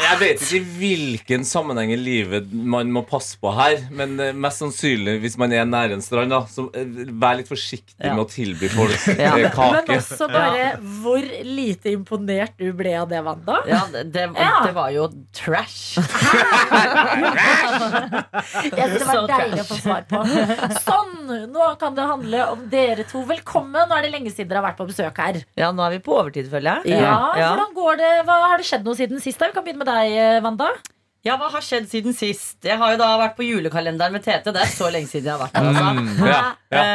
jeg vet ikke i hvilken sammenheng i livet man må passe på her, men eh, mest sannsynlig hvis man er nær en strand, da, så eh, vær litt forsiktig med å tilby folk
Ja.
eh,
Men altså-
kake.
også bare hvor lite imponert du ble av det, Wanda.
Ja, det, det,
Ja.
det var jo trash.
Jeg synes det var
Så
deilig å få svar på. Sånn! Nå kan det handle om dere to. Velkommen. Nå er det lenge siden dere har vært på besøk her.
Ja, nå er vi på overtid, føler jeg.
Ja,
ja.
hvordan går det? Hva Har det skjedd noe siden sist? da? Vi kan begynne med deg, eh, Wanda.
Ja, Hva har skjedd siden sist? Jeg har jo da vært på julekalenderen med Tete. Det er så lenge siden jeg har vært der. Altså.
Mm, Ja, ja.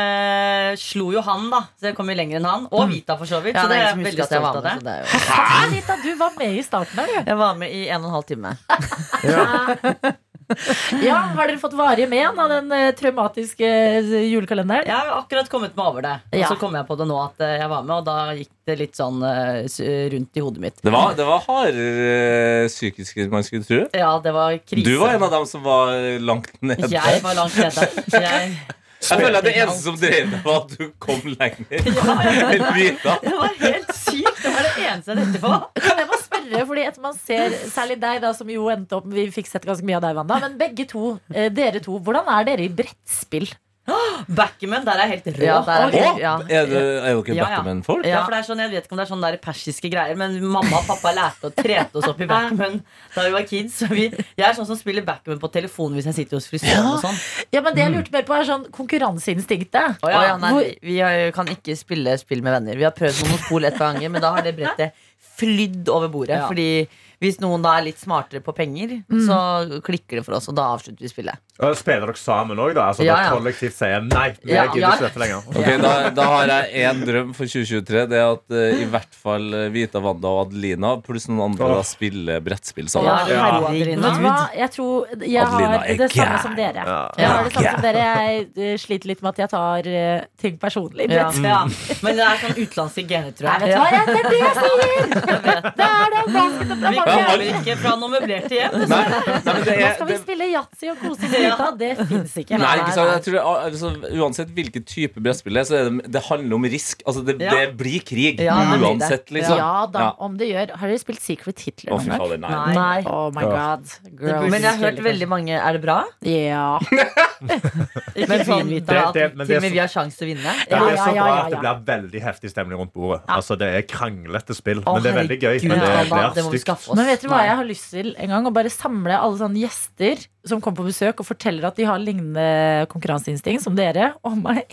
Eh, slo jo han, da. Så jeg kom jo lenger enn han. Og Vita, for så vidt.
Mm. Ja,
så
det
det
er ingen
er
som
jeg
husker
veldig
at jeg
stolt
var
av det.
med. Så det er jo.
Faen, Anita, du var med i starten der,
Jeg var med i en og en halv time.
du. Ja, har dere fått varige men av den eh, traumatiske eh, julekalenderen?
Jeg har akkurat kommet meg over det.
Ja.
Og så kom jeg på det nå at eh, jeg var med, og da gikk det litt sånn eh, s- rundt i hodet mitt.
Det var, det var hardere eh, psykisk enn man skulle tro.
Ja, det var krise.
Du var en av dem som var langt nede.
Jeg var langt nede. Jeg,
Jeg føler at det eneste som drev deg, var at du kom lenger enn Vita.
det var helt sykt! Det var det eneste jeg tenkte på.
Kan jeg bare spørre, fordi etter man ser særlig deg, da, som jo endte opp Vi fikk sett ganske mye av deg, Wanda. Men begge to, eh, dere to, hvordan er dere i brettspill?
Backman, der er jeg helt rå.
Ja, der er
Og-
vi.
Å,
Ja.
er du er dere
Ja, ja.
Batman-folk?
Ja, for det er sånn, Jeg vet ikke om det er sånn der persiske greier, men mamma og pappa lærte å trete oss opp i backman da vi var kids. Så vi, jeg er sånn som spiller backman på telefonen hvis jeg sitter hos frisøren. og sånn
Ja, men Det jeg lurte mer på, er sånn konkurranseinstinktet.
Å, ja.
Å, ja, nei,
Hvor-
vi- vi har- kan ikke spille spill med venner. Vi har prøvd monopol et par ganger, men da har det brettet flydd over bordet.
Ja. Mm.
Fordi hvis noen da er litt smartere på penger, så klikker det for oss, og da avslutter vi spillet.
Og spiller dere sammen òg, da? Altså,
Ja,
dere
ja.
kollektivt sier nei. Vi
Ja,
gidder
ja.
ikke dette lenger.
Ok, da, da har jeg én drøm for 2023. Det er at eh, i hvert fall eh, Vita, Wanda og Adelina pluss noen andre da
Åh.
spiller brettspill
Ja,
sammen.
herregud.
Vet du hva? Jeg tror jeg
Adelina
har
er
det samme
gæren.
som dere.
Ja.
Jeg har det samme som dere Jeg eh, sliter litt med at jeg tar eh, ting personlig.
Ja.
Men
Ja. Men det er sånn utenlandske gener, tror
Nei, vet
jeg.
du hva? Jeg- Det er det jeg sier! Det er det! basket, det er
Vi
mange
Ja,
kommer
ganger.
ikke fra noe møblerte hjem.
Nei, nei, men det
Nå
er,
skal vi
det,
spille yatzy og kose oss.
Ja,
vet du, det fins ikke.
Nei, ikke sant? Jeg tror det, er- altså, uansett hvilken type brettspill det er, så er det, det handler om risk. Altså, det,
Ja.
det blir krig
Ja, det blir det.
uansett, liksom.
Ja da,
Ja.
om det gjør. Har dere spilt Secret Hitler
Å, fy fader, nei.
Nei.
Nei. Oh my god. Girls.
Men jeg har hørt veldig mange Er det bra?
Ja.
Ikke
sånn-
finvita
Det-
at
det- men
til
det
og med
som-
vi har sjanse til å vinne.
Det
Ja,
er
ja, ja,
så bra
ja,
at det
ja.
blir veldig heftig stemning rundt bordet. Altså, det er kranglete spill,
Å,
men det er veldig gøy.
herregud,
Men det,
Alba,
det
det må
er
vi
stygt.
skaffe oss.
Men vet du hva
Nei.
jeg har lyst til en gang? Å bare samle alle sånne gjester som kommer på besøk og forteller at de har lignende konkurranseinstinkt som dere og meg.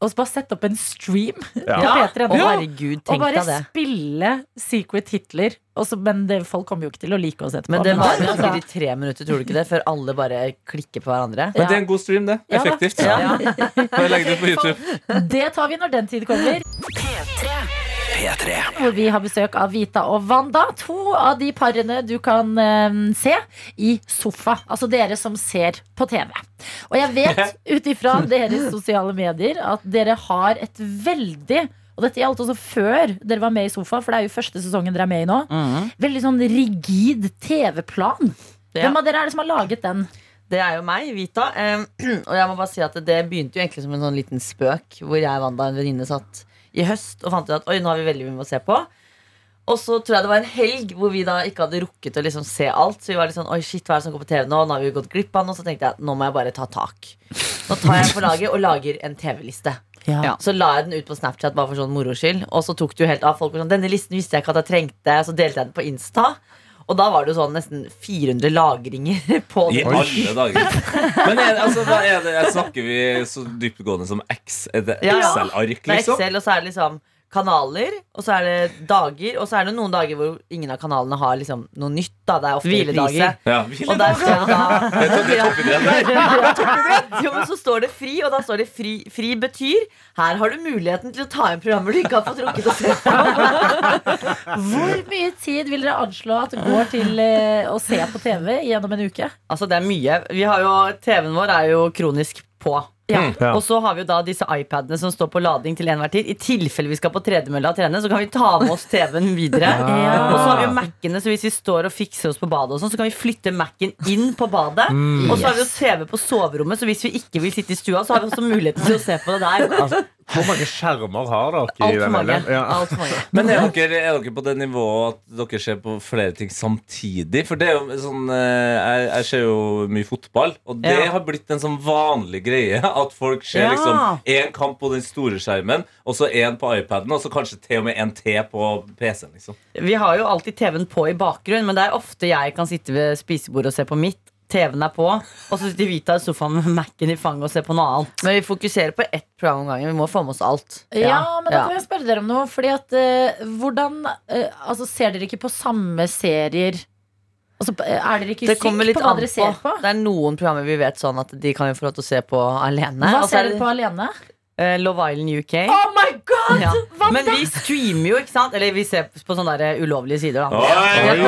Og så bare sette opp en stream på
Ja.
P3
Å,
nå.
herregud,
Og
tenk
bare
deg det.
spille Secret Hitler. Og så- men det, folk kommer jo ikke til å like oss etterpå.
Men det
Men
varer
altså,
sikkert i tre minutter, tror du ikke det? Før alle bare klikker på
Men
hverandre.
det er en god stream, det.
Ja da.
Effektivt.
Ja.
Bare legg det ut på YouTube.
det tar vi når den tid kommer.
P3.
hvor vi har besøk av Vita og Wanda. To av de parene du kan eh, se i sofa. Altså dere som ser på TV. Og jeg vet ut ifra deres sosiale medier at dere har et veldig og dette gjaldt også før dere var med i sofa, for det er jo første sesongen dere er med i nå. Veldig sånn rigid TV-plan.
Ja.
Hvem av dere er det som har laget den?
Det er jo meg, Vita. Eh, og jeg må bare si at det begynte jo egentlig som en sånn liten spøk, hvor jeg, Wanda og en venninne satt i høst og fant ut at oi, nå har vi veldig mye å se på. Og så tror jeg det var en helg hvor vi da ikke hadde rukket å liksom se alt. Så vi var litt sånn, oi shit, hva er det som går på TV nå? Nå har vi jo gått glipp av noe. Så tenkte jeg nå må jeg bare ta tak. Nå tar jeg på laget og lager en TV-liste.
Ja.
Så la jeg den ut på Snapchat bare for sånn moro skyld. Og så tok det jo helt av. Folk var sånn, denne listen visste jeg ikke at jeg trengte. Så delte jeg den på Insta. Og da var det jo sånn nesten 400 lagringer på
I
den.
alle dager. Men er, det- altså, hva er det, jeg snakker vi så dyptgående som X, er det
Ja, ja.
Excel-ark,
Det er
liksom?
Excel, og så er det liksom kanaler, og så er det dager, og så er det noen dager hvor ingen av kanalene har liksom noe nytt. da, Det er ofte hviledager.
Ja,
Og der står det sånn da
Det er toppidrett.
jo, men så står sånn det fri, og da står det fri, fri betyr Her har du muligheten til å ta inn programmer du ikke har fått rukket å se på.
Hvor mye tid vil dere anslå at går til eh, å se på TV gjennom en uke?
Altså, det er mye. Vi har jo, TV-en vår er jo kronisk på.
Mm, Ja.
Og så har vi jo da disse iPadene som står på lading til enhver tid. I tilfelle vi skal på tredemølla og trene, så kan vi ta med oss TV-en videre.
Ja.
Og så har vi jo Mac-ene, så hvis vi står og fikser oss på badet, og sånn, så kan vi flytte Mac-en inn på badet.
Mm.
Og så har vi jo TV på soverommet, så hvis vi ikke vil sitte i stua, så har vi også muligheten til å se på det der.
Altså, hvor mange skjermer har dere i
Altfor
den
mange.
hele? Ja.
Alt for mange.
Men er dere, er dere på det nivået at dere ser på flere ting samtidig? For det er jo sånn eh, Jeg, jeg ser jo mye fotball, og det
Ja.
har blitt en sånn vanlig greie. At folk ser
Ja.
liksom én kamp på den store skjermen, og så én på iPaden, og så kanskje til og med en til på PC-en. liksom
Vi har jo alltid TV-en på i bakgrunnen, men det er ofte jeg kan sitte ved spisebordet og se på mitt. TV-en er på, og så sitter Vita i sofaen med Mac-en i fanget og ser på noe annet. Men vi fokuserer på ett program om gangen. Vi må få med oss alt.
Ja, men da
Ja.
kan jeg spørre dere om noe. Fordi at eh, hvordan eh, Altså, ser dere ikke på samme serier? Altså, er dere ikke
Det
i
kommer
synk
litt
på hva
an
dere ser
på.
på?
Det er noen programmer vi vet sånn at de kan vi få lov til å se på alene.
Hva
Og så er
ser
det-
dere på alene?
altså, Eh, Love Island UK.
Oh my god!
Ja.
Hva
Men
da?
vi streamer jo, ikke sant? Eller vi ser på sånne der ulovlige sider, da.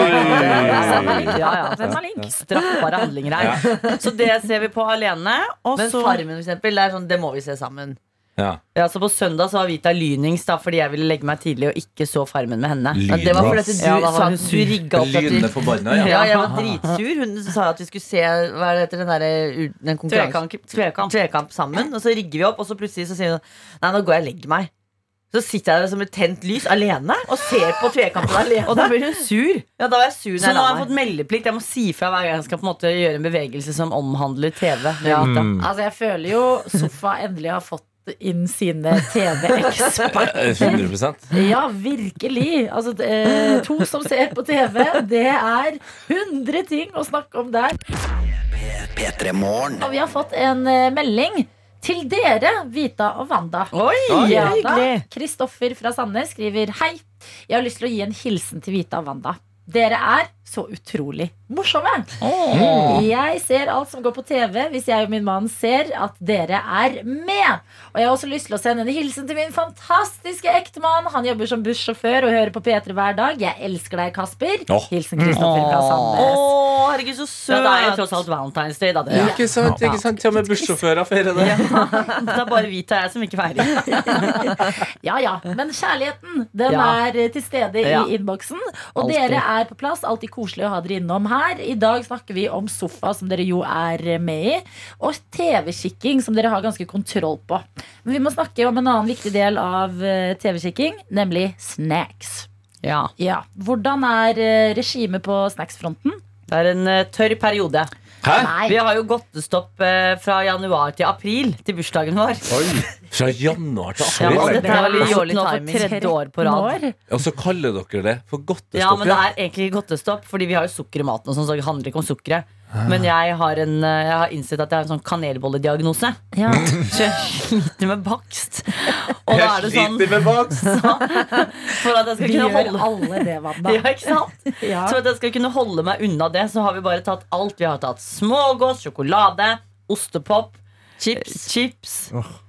Send meg
Oi.
link.
Ja, ja.
Send meg link.
Straffbare handlinger her. Så det ser vi på alene. Og
Men
så
Farmen, for eksempel, det, er sånn, det må vi se sammen.
Ja.
Ja, så på søndag så var Vita lynings da, fordi jeg ville legge meg tidlig og ikke så Farmen med henne.
Ja, det var fordi at du,
Ja, da var
sa
hun
at du
sur.
rigga opp at
Lynende
du
forbanna, ja.
ja,
Ja.
jeg var dritsur. Hun sa at vi skulle se Hva er det heter den derre den konkurransen?
Tvekamp, tvekamp.
Tvekamp sammen. Og så rigger vi opp, og så plutselig så sier hun Nei, nå går jeg og legger meg. Så sitter jeg der som et tent lys alene og ser på Tvekampen alene.
Og da blir hun sur.
Ja, da var jeg sur når
Så
jeg la
nå har jeg
meg.
fått meldeplikt. Jeg må si fra hver gang jeg skal på en måte gjøre en bevegelse som omhandler TV. med Vita.
Mm.
Altså, jeg føler jo Sofa endelig har fått inn sine TV-eksperter.
Eh, 100
Ja, virkelig. Altså, eh, to som ser på TV, det er 100 ting å snakke om der.
P3 Morgen.
Og vi har fått en eh, melding til dere, Vita og Wanda.
Oi,
Ja, da.
hyggelig.
Kristoffer fra Sandnes skriver Hei, jeg har lyst til å gi en hilsen til Vita og Wanda. Dere er så utrolig morsomme.
Mm.
Jeg ser alt som går på TV hvis jeg og min mann ser at dere er med. Og jeg har også lyst til å sende en hilsen til min fantastiske ektemann. Han jobber som bussjåfør og hører på P3 hver dag. Jeg elsker deg, Kasper.
Åh.
Hilsen Kristoffer fra
Å,
Sandnes.
herregud, så søt.
Ja,
det
det
er
er
jo tross alt Valentine's Day, da. Det,
Ja. Ikke sant? ikke sant, Til og med bussjåfører feirer det.
det er bare Vita og jeg som ikke feirer.
Ja, ja, Men kjærligheten den
Ja.
er eh, til stede
Ja.
i innboksen. Og
Altid.
dere er på plass, alltid koselig å ha dere innom her. I dag snakker vi om sofa, som dere jo er eh, med i, og TV-kikking, som dere har ganske kontroll på. Men vi må snakke om en annen viktig del av eh, TV-kikking, nemlig snacks.
Ja.
Ja, Hvordan er eh, regimet på snacksfronten?
Det er en eh, tørr periode.
Hæ?
Eh, Vi har jo godtestopp eh, fra januar til april til bursdagen vår.
Fra januar til
Ja,
april?
og dette er
Det er
litt gjort
dårlig
nå for
timing.
tredje år på rad.
Nå?
Og så kaller dere det for godtestopp?
Ja, men det er egentlig godtestopp, fordi vi har jo sukker i maten. og sånn, så det handler ikke om sukkeret. Men jeg har, en, eh, jeg har innsett at jeg har en sånn kanelbollediagnose.
Ja.
Så jeg sliter med bakst. Og da er det sånn
med vokst.
for at jeg skal
Vi
kunne
gjør
holde
alle det, Wanda.
ja, ikke sant?
Ja.
Så at jeg skal kunne holde meg unna det, så har vi bare tatt alt. Vi har tatt smågås, sjokolade, ostepop, eh,
Chips.
chips, eh,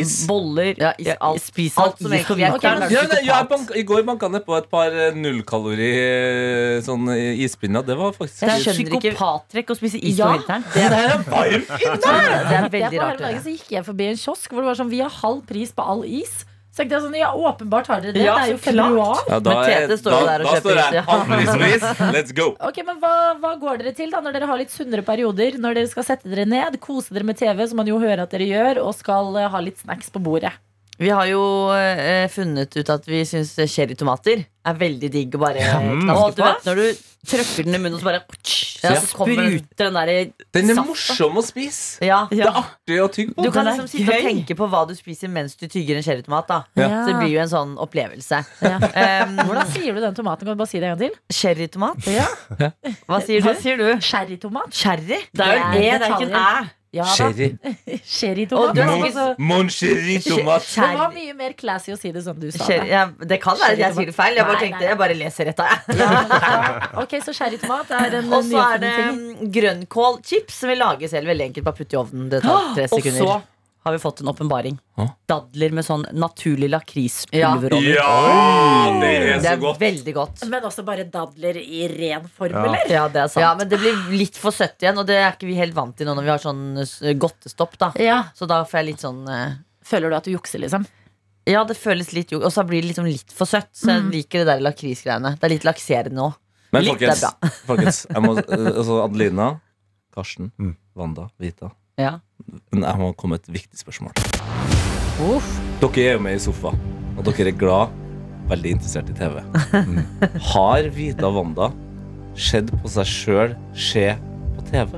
Is?
boller
Ja, is,
Ja,
alt.
spis
alt
alt som
gir
egentlig
for mye.
virker.
Ok, men-
Ja, nei, jeg banka, I går banka jeg nedpå et par eh, nullkalori eh, sånn eh, ispinner. Det var faktisk
Det er
Jeg skjønner ikke-
psykopattrekk å spise is på
Ja.
vinteren.
Det er varmt!
Det er
Jeg
veldig
på
rart. å
hele
gjøre.
dagen så gikk jeg forbi en kiosk hvor det var sånn Vi har halv pris på all is. Så tenkte jeg sånn, ja, åpenbart har dere det.
Ja,
det er jo
så klart.
februar.
Ja,
Men
er-
Tete står jo der og
da
kjøper
står
is, ja.
jeg handlingsvis. Let's go!
Ok, men hva, hva går dere til da når dere har litt sunnere perioder? Når dere skal sette dere ned, kose dere med TV, som man jo hører at dere gjør, og skal eh, ha litt snacks på bordet.
Vi har jo eh, funnet ut at vi syns cherrytomater er veldig digg å bare
mm.
knaske
Og du
på.
vet, når du trøkker den i munnen, så bare
Ja,
Ja.
så kommer den- spruter den derre
Den er
Saft, da.
morsom å spise.
ja.
Det er artig å tygge på.
Du kan
Den er
liksom sitte
gøy.
og tenke på hva du spiser mens du tygger en cherrytomat. da.
Ja.
Så det blir jo en sånn opplevelse.
Ja.
Um,
Hvordan sier du den tomaten? Kan du bare si det en gang til?
Cherrytomat?
Ja.
Hva sier
Hva
du?
Sherrytomat?
Cherry? Det er jo en
Det
E,
er
det er ikke en Æ.
Ja da.
Sherry.
Og
Sherrytomat.
du er
Det var
sikkert-
altså-
Mon cherry-tomat.
Det var mye mer classy å si det som du sa.
Cherry,
det.
ja, det kan være at jeg sier det feil. Jeg bare
Nei, nei,
tenkte,
nei.
jeg bare leser rett av. jeg.
Ok, så sherrytomat er en
Og så er det
nyoppfunnet ting.
mm, grønnkålchips som vi lager selv. Veldig enkelt. Bare putte i ovnen. Det tar tre
og
sekunder.
så-
har vi fått en åpenbaring.
Hå?
Dadler med sånn naturlig lakrispulver over.
Ja, det er
Det
så
er
godt.
veldig godt.
Men også bare dadler i ren form,
Ja.
eller?
Ja, det er sant. Ja, men det blir litt for søtt igjen, og det er ikke vi helt vant til nå når vi har sånn eh, godtestopp, da.
Ja.
Så da får jeg litt sånn eh,
Føler du at du jukser, liksom?
Ja, det føles litt jo Og så blir det liksom litt for søtt. Så jeg liker det der lakrisgreiene. Det er litt lakserende òg.
Men
Litt
folkens,
er
folkens jeg må, altså Adelina, Karsten, Wanda, Vita
Ja.
Men jeg må komme med et viktig spørsmål. Dere er jo med i sofa, og dere er glad, veldig interessert i TV. Mm. Har Vita og Wanda sett på seg sjøl skje på TV?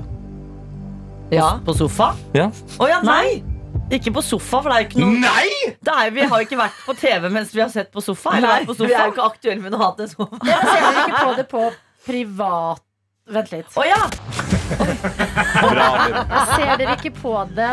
Ja. På sofa? Å
Ja.
ja, nei! Mm. Ikke på sofa, for det er jo ikke noe
Nei!
det er, Vi har jo ikke vært på TV mens vi har sett på sofa. Eller
Nei,
vært på sofa.
vi er jo
ikke aktuelle med noe annet enn sofa.
Ja, ser dere ikke på det på privat Vent litt.
Å ja!
Bra, Adelina.
Ser dere ikke på det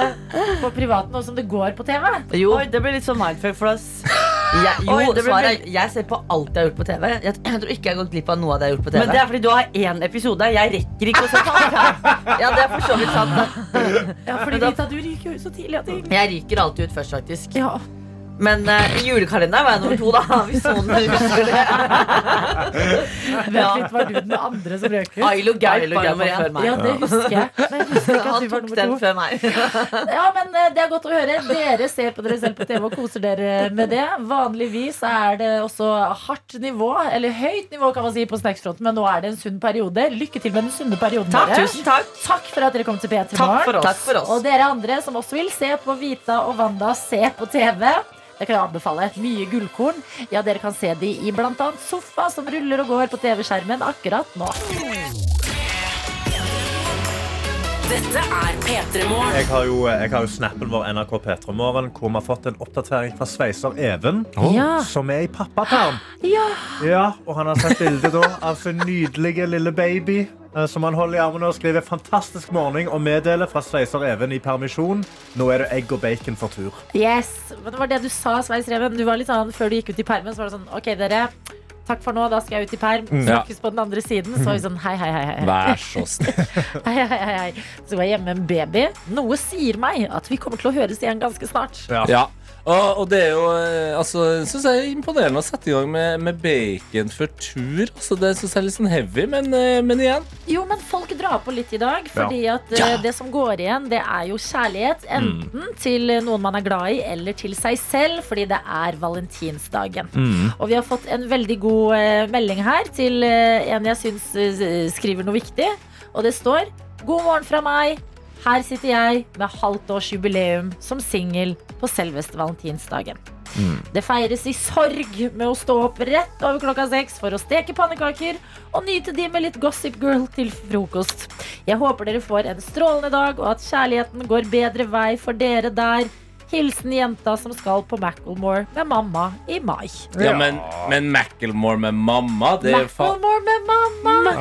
på privat nå som det går på TV?
Jo. Oi, det ble litt sånn mindfuck for oss. Jeg, jo,
Oi, det ble
svaret er- jeg ser på alt jeg har gjort på TV. Jeg, jeg tror ikke jeg har gått glipp av noe av det jeg har gjort på TV.
Men det
er fordi du har én episode. Jeg rekker ikke å se på alt. Ja, det er for så vidt sant. da.
Ja, fordi Rita, du ryker jo ut så tidlig at det
Jeg ryker alltid ut først, faktisk.
ja.
Men eh, i julekalenderen var jeg nummer to, da. Hvis noen husker det.
Vent litt, var du den andre som røk ut?
Ailo Gaup
Ailo
var
Gaup
nummer
var
én.
før
Ja, det husker jeg. Men jeg husker ikke at
Han
du var
tok
nummer
den
to.
før meg.
Ja, men eh, det er godt å høre. Dere ser på dere selv på TV og koser dere med det. Vanligvis er det også hardt nivå, eller høyt nivå kan man si, på snacksfronten, men nå er det en sunn periode. Lykke til med den sunne perioden.
Takk,
dere.
tusen takk.
Takk for at dere kom til P3
Takk for
Morgen.
oss. Takk for oss.
Og dere andre som også vil se på Vita og Wanda se på TV. Det kan jeg anbefale. Mye gullkorn. Ja, Dere kan se de i bl.a. sofa som ruller og går på TV-skjermen akkurat nå.
Jeg har jo, eh, jeg har jo snappen vår NRK Petromorgen, hvor vi har fått en oppdatering fra sveiser Even,
Ja.
som er i pappaperm.
Ja,
Ja, og han har sett bilde da, av sin nydelige lille baby, eh, som han holder i armene og skriver «Fantastisk morning» og meddeler fra sveiser Even i permisjon. Nå er det egg og bacon for tur.
yes Men Det var det du sa, Sveis Reven. Du var litt sånn, Før du gikk ut i permen, så var det sånn OK, dere. Takk for nå, da skal jeg ut i perm. Snakkes på den andre siden. Så var vi sånn hei, hei, hei. hei.
Vær så snill.
hei, hei, hei, hei. Så var jeg hjemme med en baby. Noe sier meg at vi kommer til å høres igjen ganske snart.
Ja, Og, og det er jo eh, altså, synes jeg er imponerende å sette i gang med, med bacon før tur. Altså, det syns jeg er litt sånn heavy, men, eh, men igjen.
Jo, men folk drar på litt i dag, fordi at eh, det som går igjen, det er jo kjærlighet. Enten til noen man er glad i, eller til seg selv, fordi det er valentinsdagen.
Mm.
Og vi har fått en veldig god eh, melding her til eh, en jeg syns eh, skriver noe viktig, og det står God morgen fra meg. Her sitter jeg med halvt års jubileum som singel på selveste valentinsdagen. Det feires i sorg med å stå opp rett over klokka seks for å steke pannekaker og nyte de med litt Gossip Girl til frokost. Jeg håper dere får en strålende dag, og at kjærligheten går bedre vei for dere der. Hilsen jenta som skal på Macclemore med mamma i mai.
Ja, men, men Macclemore med mamma, det er jo faen
Macclemore med mamma!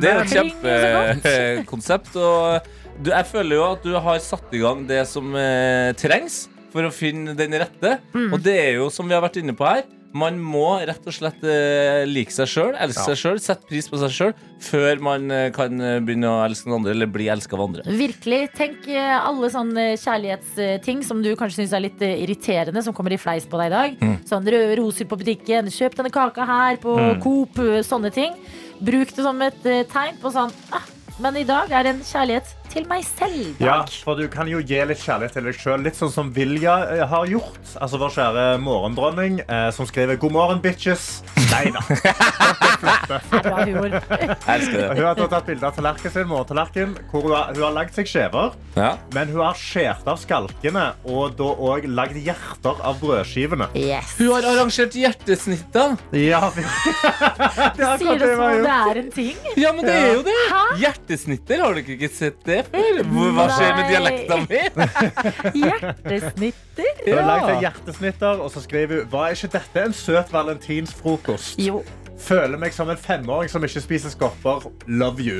Det er jo et
Kling, så
kjempekonsept. Og du, jeg føler jo at du har satt i gang det som eh, trengs for å finne den rette.
Mm.
Og det er jo, som vi har vært inne på her, man må rett og slett eh, like seg sjøl, elske seg sjøl, sette pris på seg sjøl, før man eh, kan eh, begynne å elske noen andre eller bli elska av andre.
Virkelig. Tenk eh, alle sånne kjærlighetsting som du kanskje syns er litt eh, irriterende, som kommer i fleis på deg i dag.
Mm.
Sånn røde roser på butikken, kjøp denne kaka her på Coop, eh, sånne ting. Bruk det som et eh, tegn på sånn ah, Men i dag er det en kjærlighet til meg selv.
Ja,
Dag.
for du kan jo gi litt kjærlighet til deg sjøl, litt sånn som Vilja eh, har gjort. Altså vår kjære morgendronning, eh, som skriver 'God morgen, bitches'. Nei da.
Det er bra humor.
Jeg elsker det.
Hun har da tatt bilde av tallerkenen sin, morgentallerken, hvor hun har, hun har lagd seg skjever.
Ja.
Men hun har skjært av skalkene og da òg lagd hjerter av brødskivene.
Yes.
Hun har arrangert hjertesnitt, da!
Ja, vi- det
Sier
er akkurat
det
det hun
som om
har
det
gjort.
er en ting.
Ja, men det er jo det!
Hæ?
Hjertesnitter, har du ikke sett det før? Hvor- Hva skjer med
Nei.
dialekta mi?
Hjertesnitter.
Hun har lagd seg hjertesnitter, og så skriver hun Var ikke dette en søt valentinsfrokost?
Jo.
Føler meg som en femåring som ikke spiser skorper. Love you.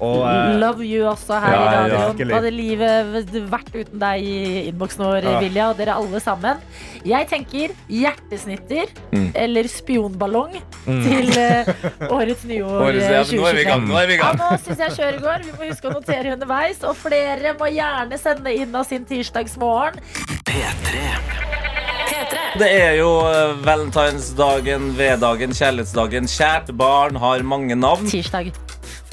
Og, eh,
Love you også her
Ja,
i
ja,
radioen.
virkelig.
Hva hadde livet vært uten deg i innboksen vår,
Ja.
Vilja, og dere alle sammen. Jeg tenker hjertesnitter
Mm.
eller spionballong til eh, årets nyår
Årets-
eh,
ja, men Nå er vi i
2023.
gang. Nå er vi i
Ja,
gang.
nå syns jeg kjøret går. Vi må huske å notere underveis. Og flere må gjerne sende inn av sin tirsdagsmorgen.
Det er jo eh, valentinsdagen, V-dagen, kjærlighetsdagen. Kjært barn har mange navn.
Tirsdag.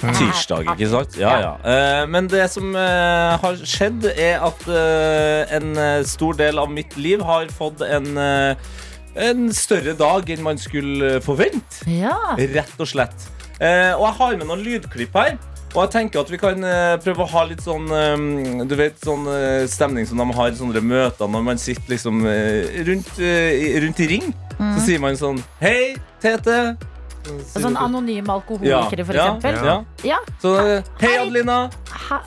Tirsdag, ikke sant? Ja, ja. Eh, Men det som eh, har skjedd, er at eh, en eh, stor del av mitt liv har fått en eh, en større dag enn man skulle eh, forvente.
Ja.
Rett og slett. Eh, og jeg har med noen lydklipp her. Og jeg tenker at vi kan eh, prøve å ha litt sånn eh, Du vet, sånn eh, stemning som de har i sånne møter når man sitter liksom eh, rundt, eh, i- rundt i ring.
Mhm.
Så sier man sånn Hei, Tete.
Og Sånn anonyme alkoholikere, for eksempel.
Ja, ja.
Ja.
Så eh, Hei,
Hei.
Adelina.
Ha,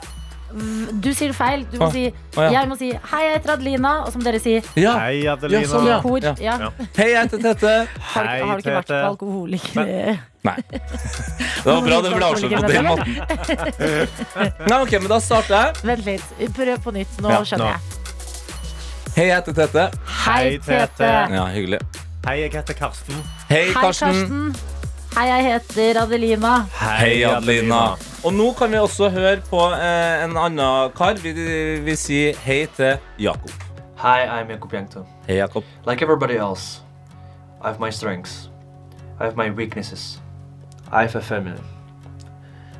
v- du sier feil. Du må
Å,
si
å ja.
Jeg må si 'Hei, jeg heter Adelina', og som dere sier
Ja.
Hei, Adelina.
Ja, sånn,
i kor.
Ja.
Ja.
Ja.
Hei, jeg heter Tete.
Har,
Hei,
har du ikke vært
Tete.
alkoholiker?
Nei. Det var bra det ble avslørt på den måten. Nei, ok, men Da starter jeg.
Vent litt. Prøv på nytt. Nå
Ja, nå.
skjønner jeg.
Hei, jeg heter Tete.
Hei,
Hei, Tete.
Tete.
Ja, hyggelig.
Hei, jeg heter Karsten.
Hei,
Hei,
Karsten.
Karsten. Hei, jeg heter Adelina.
Hei, Adelina. Og nå kan vi også høre på eh, en annen kar. Vi, vi sier hei til Jakob.
Hi, I'm Jakob Jankto.
Hei, Jakob.
Like everybody else, I have my strengths. I have my weaknesses. I have a family.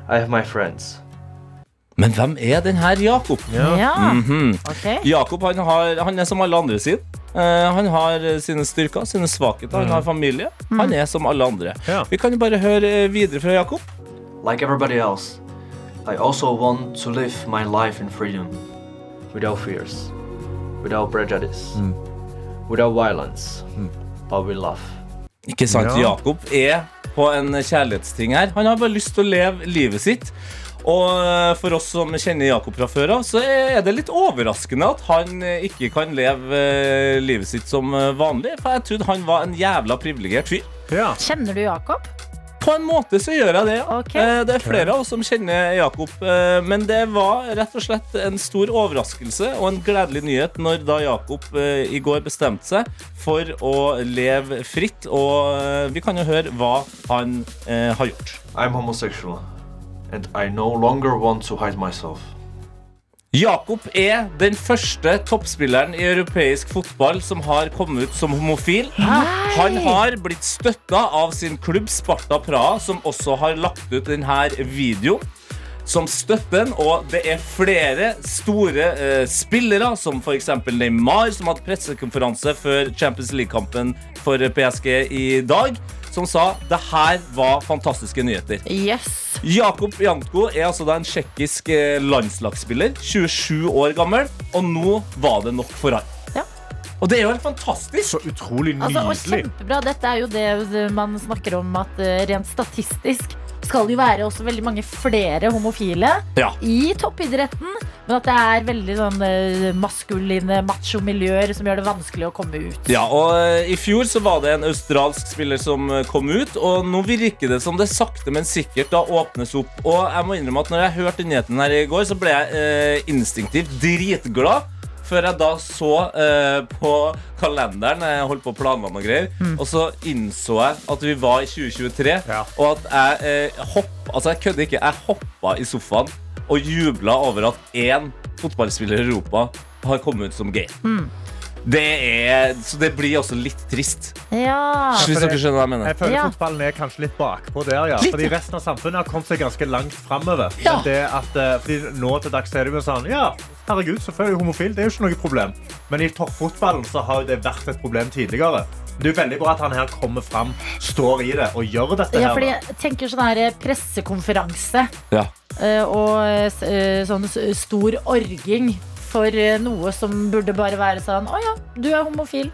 I have my friends.
Men hvem er den her Jakob?
Ja. Mm-hmm.
Mhm.
ok.
Jakob han, har, han er som alle andre sin. Eh, han har eh, sine styrker, sine svakheter, han har familie. Han er som alle andre.
Ja.
Vi kan jo bare høre eh, videre fra Jakob.
Like everybody else, I also want to live my life in freedom. Without fears. Without prejudice. Without violence. But with love.
Ikke sant?
Ja.
Jakob er på en kjærlighetsting her. Han har bare lyst til å leve livet sitt. Og eh, for oss som kjenner Jakob fra før av, så er det litt overraskende at han eh, ikke kan leve eh, livet sitt som eh, vanlig. For jeg trodde han var en jævla privilegert fyr.
Ja.
Kjenner du Jakob?
På en måte så gjør jeg det. ja.
Ok.
Eh, Det er flere av oss som kjenner Jakob. eh, Men det var rett og slett en stor overraskelse og en gledelig nyhet når da Jakob eh, i går bestemte seg for å leve fritt. Og eh, vi kan jo høre hva han eh, har gjort.
I'm homosexual. And I no longer want to hide myself.
Jakob er den første toppspilleren i europeisk fotball som har kommet ut som homofil. Han har blitt støtta av sin klubb Sparta Praha, som også har lagt ut denne videoen som støtter den, og det er flere store eh, spillere, som f.eks. Neymar, som hadde pressekonferanse før Champions League-kampen for PSG i dag, som sa det her var fantastiske nyheter.
Yes.
Jakob Janko er altså da en tsjekkisk eh, landslagsspiller, 27 år gammel, og nå var det nok for han.
Ja.
Og det er jo helt fantastisk!
Så utrolig
Altså, og
nydelig.
kjempebra. Dette er jo det man snakker om at eh, rent statistisk skal det jo være også veldig mange flere homofile
Ja.
i toppidretten. Men at det er veldig sånn eh, maskuline macho-miljøer som gjør det vanskelig å komme ut.
Ja, og eh, I fjor så var det en australsk spiller som eh, kom ut, og nå virker det som det sakte, men sikkert da åpnes opp. Og jeg må innrømme at når jeg hørte den nyheten her i går, så ble jeg eh, instinktivt dritglad. Før jeg da så eh, på kalenderen, jeg holdt på å planlegge og greier, og så innså jeg at vi var i 2023,
Ja.
og at jeg eh, hopp, Altså, jeg kødder ikke. Jeg hoppa i sofaen og jubla over at én fotballspiller i Europa har kommet ut som gay. Det er, så det blir også litt trist.
Ja.
Hvis dere skjønner hva jeg mener.
Jeg føler
Ja.
fotballen er kanskje litt bakpå der, ja. Fordi resten av samfunnet har kommet seg ganske langt framover.
Ja.
Det at, eh, fordi nå til dags er det jo sånn Ja, herregud, selvfølgelig homofil. Det er jo ikke noe problem. Men i toppfotballen så har jo det vært et problem tidligere. Det er jo veldig bra at han her kommer fram, står i det og gjør dette
Ja,
her.
fordi
da.
jeg tenker sånn her eh, pressekonferanse
Ja.
eh, og eh, s- eh, sånn s- stor orging for eh, noe som burde bare være sånn Å ja, du er homofil.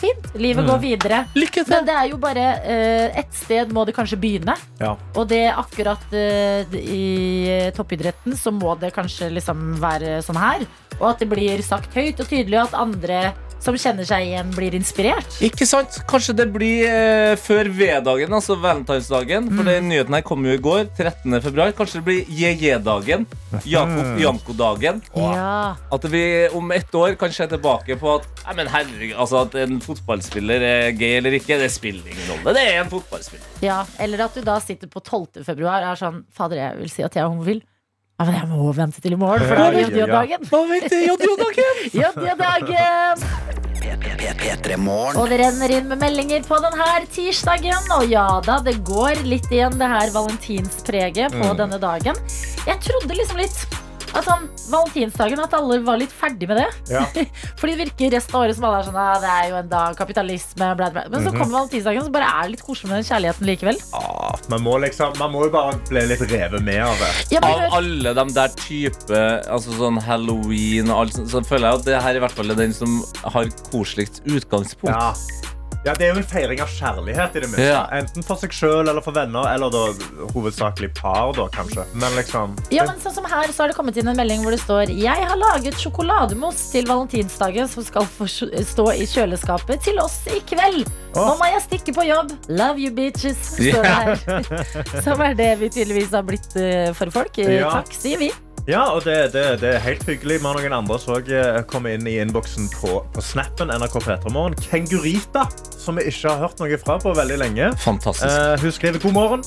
Fint. Livet
Mm.
går videre.
Lykke
Men det er jo bare eh, ett sted må det kanskje begynne.
Ja.
Og det er akkurat eh, i toppidretten så må det kanskje liksom være sånn her. Og at det blir sagt høyt og tydelig, og at andre som kjenner seg igjen, blir inspirert.
Ikke sant? Kanskje det blir eh, før V-dagen, altså valentinsdagen. For den nyheten her kom jo i går. 13. februar. Kanskje det blir JJ-dagen. Jakob Janko-dagen.
Ja.
At vi om ett år kan se tilbake på at Nei, men herregud, altså at en fotballspiller er gay eller ikke, det spiller ingen rolle. Det er en fotballspiller.
ja. Eller at du da sitter på 12. februar og er sånn Fader, jeg vil si at jeg er homofil. Ja, men jeg må vente til i morgen, for da er det
Ja, ja, ja.
jodjadagen.
Hva vet du, JJ-dagen?
Jodjadagen!
P3 Morgen.
Og det renner inn med meldinger på denne tirsdagen. Og ja da, det går litt igjen det her valentinspreget
Mm.
på denne dagen. Jeg trodde liksom litt at sånn, valentinsdagen, at alle var litt ferdig med det.
Ja.
Fordi det virker resten av året som alle er sånn ah, det er jo en dag, kapitalisme, bla, bla. Men
Mhm.
så kommer valentinsdagen, så bare er det litt koselig med den kjærligheten likevel.
Ah, man, må liksom, man må jo bare bli litt revet med av det.
Ja, men
Av
hør,
alle de der type Altså sånn halloween og alt sånt, så føler jeg at det her i hvert fall er den som har koseligst utgangspunkt.
Ja. Ja, Det er jo en feiring av kjærlighet. i det minste.
Ja.
Enten for seg sjøl eller for venner. Eller da, hovedsakelig par, da, kanskje. Men liksom
ja, men sånn som her så har det kommet inn en melding hvor det står Jeg har laget sjokolademos til valentinsdagen som skal få sj- stå i kjøleskapet til oss i kveld. Nå
Åh.
må jeg stikke på jobb. Love you, bitches. Står det her. Som er det vi tydeligvis har blitt eh, for folk. Eh,
Ja.
Takk, sier vi.
Ja, og det, det, det er helt hyggelig. Vi har noen andre som også, eh, kom inn i innboksen på, på snappen NRK Petremorgen. Kengurita, som vi ikke har hørt noe fra på veldig lenge.
Fantastisk.
Eh, hun skriver god morgen.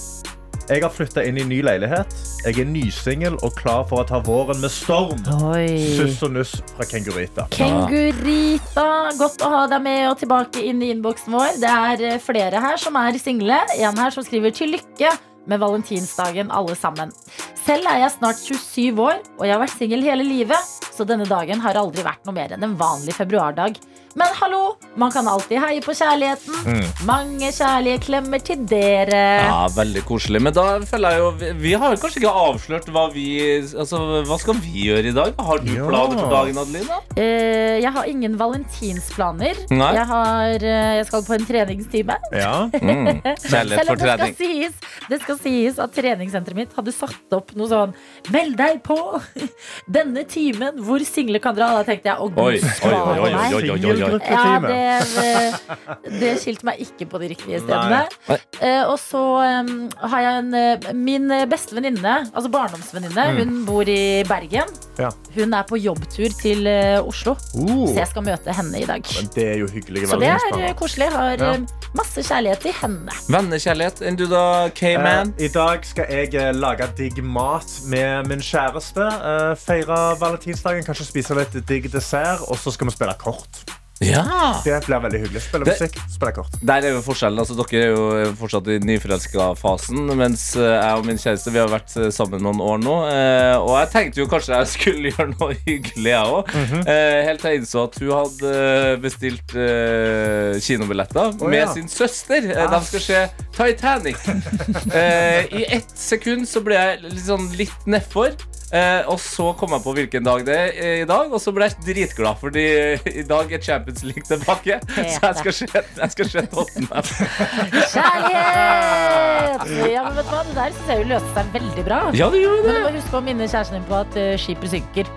Jeg har flytta inn i ny leilighet. Jeg er nysingel og klar for å ta våren med storm. Suss og nuss fra Kengurita.
Kengurita, godt å ha deg med og tilbake inn i innboksen vår. Det er eh, flere her som er single. En her som skriver til lykke med valentinsdagen, alle sammen. Selv er jeg snart 27 år, og jeg har vært singel hele livet, så denne dagen har aldri vært noe mer enn en vanlig februardag. Men hallo, man kan alltid heie på kjærligheten. Mange kjærlige klemmer til dere.
Mm. Ja, veldig koselig. Men da føler jeg jo Vi, vi har jo kanskje ikke avslørt hva vi Altså, hva skal vi gjøre i dag? Har du
Ja.
planer for dagen, Adelina?
Eh, jeg har ingen valentinsplaner.
Nei.
Jeg, har, eh, jeg skal på en treningstime.
Ja.
Mm. Kjærlighet
Selv om
for
det skal,
trening.
sies, det skal sies at treningssenteret mitt hadde satt opp noe sånn Meld deg på denne timen hvor single kan dra. Da tenkte jeg
Oi,
å gud,
oi, oi,
svare
oi, oi,
meg.
oi, oi, år.
Brukt
Ja,
time.
det, det skilte meg ikke på de riktige stedene.
Nei.
Nei.
Eh, og så em, har jeg en eh, Min beste venninne, altså barndomsvenninne, hun bor i Bergen.
Mm. Ja.
Hun er på jobbtur til eh, Oslo,
Uh,
så jeg skal møte henne i dag.
men det er jo hyggelig.
Så det er eh, koselig. Jeg har
Ja.
eh, masse kjærlighet til henne.
Vennekjærlighet. Enn du da, K-man?
Eh, I dag skal jeg eh, lage digg mat med min kjæreste. eh, Feire valentinsdagen, kanskje spise litt digg dessert. Og så skal vi spille kort.
Ja!
Det blir veldig hyggelig. Spille
Det-
musikk, spille kort.
Der er jo forskjellen, altså Dere er jo fortsatt i nyforelska-fasen, mens eh, jeg og min kjæreste vi har vært eh, sammen noen år nå. eh, Og jeg tenkte jo kanskje jeg skulle gjøre noe hyggelig, jeg òg.
Mhm.
Helt til jeg innså at hun hadde eh, bestilt eh, kinobilletter
Å,
med
ja. Ah.
sin søster. Eh, De skal se Titanic. Eh, I ett sekund så ble jeg litt sånn litt nedfor. Eh, og så kom jeg på hvilken dag det er eh, i dag, og så ble jeg dritglad, fordi eh, i dag er Champions League tilbake. Så jeg skal se, jeg skal se Tottenham.
Kjærlighet! Ja, men vet du hva? Det der synes jeg jo løste seg veldig bra.
Ja, det gjorde
Men du
det.
må huske å minne kjæresten din på at eh, skipet synker.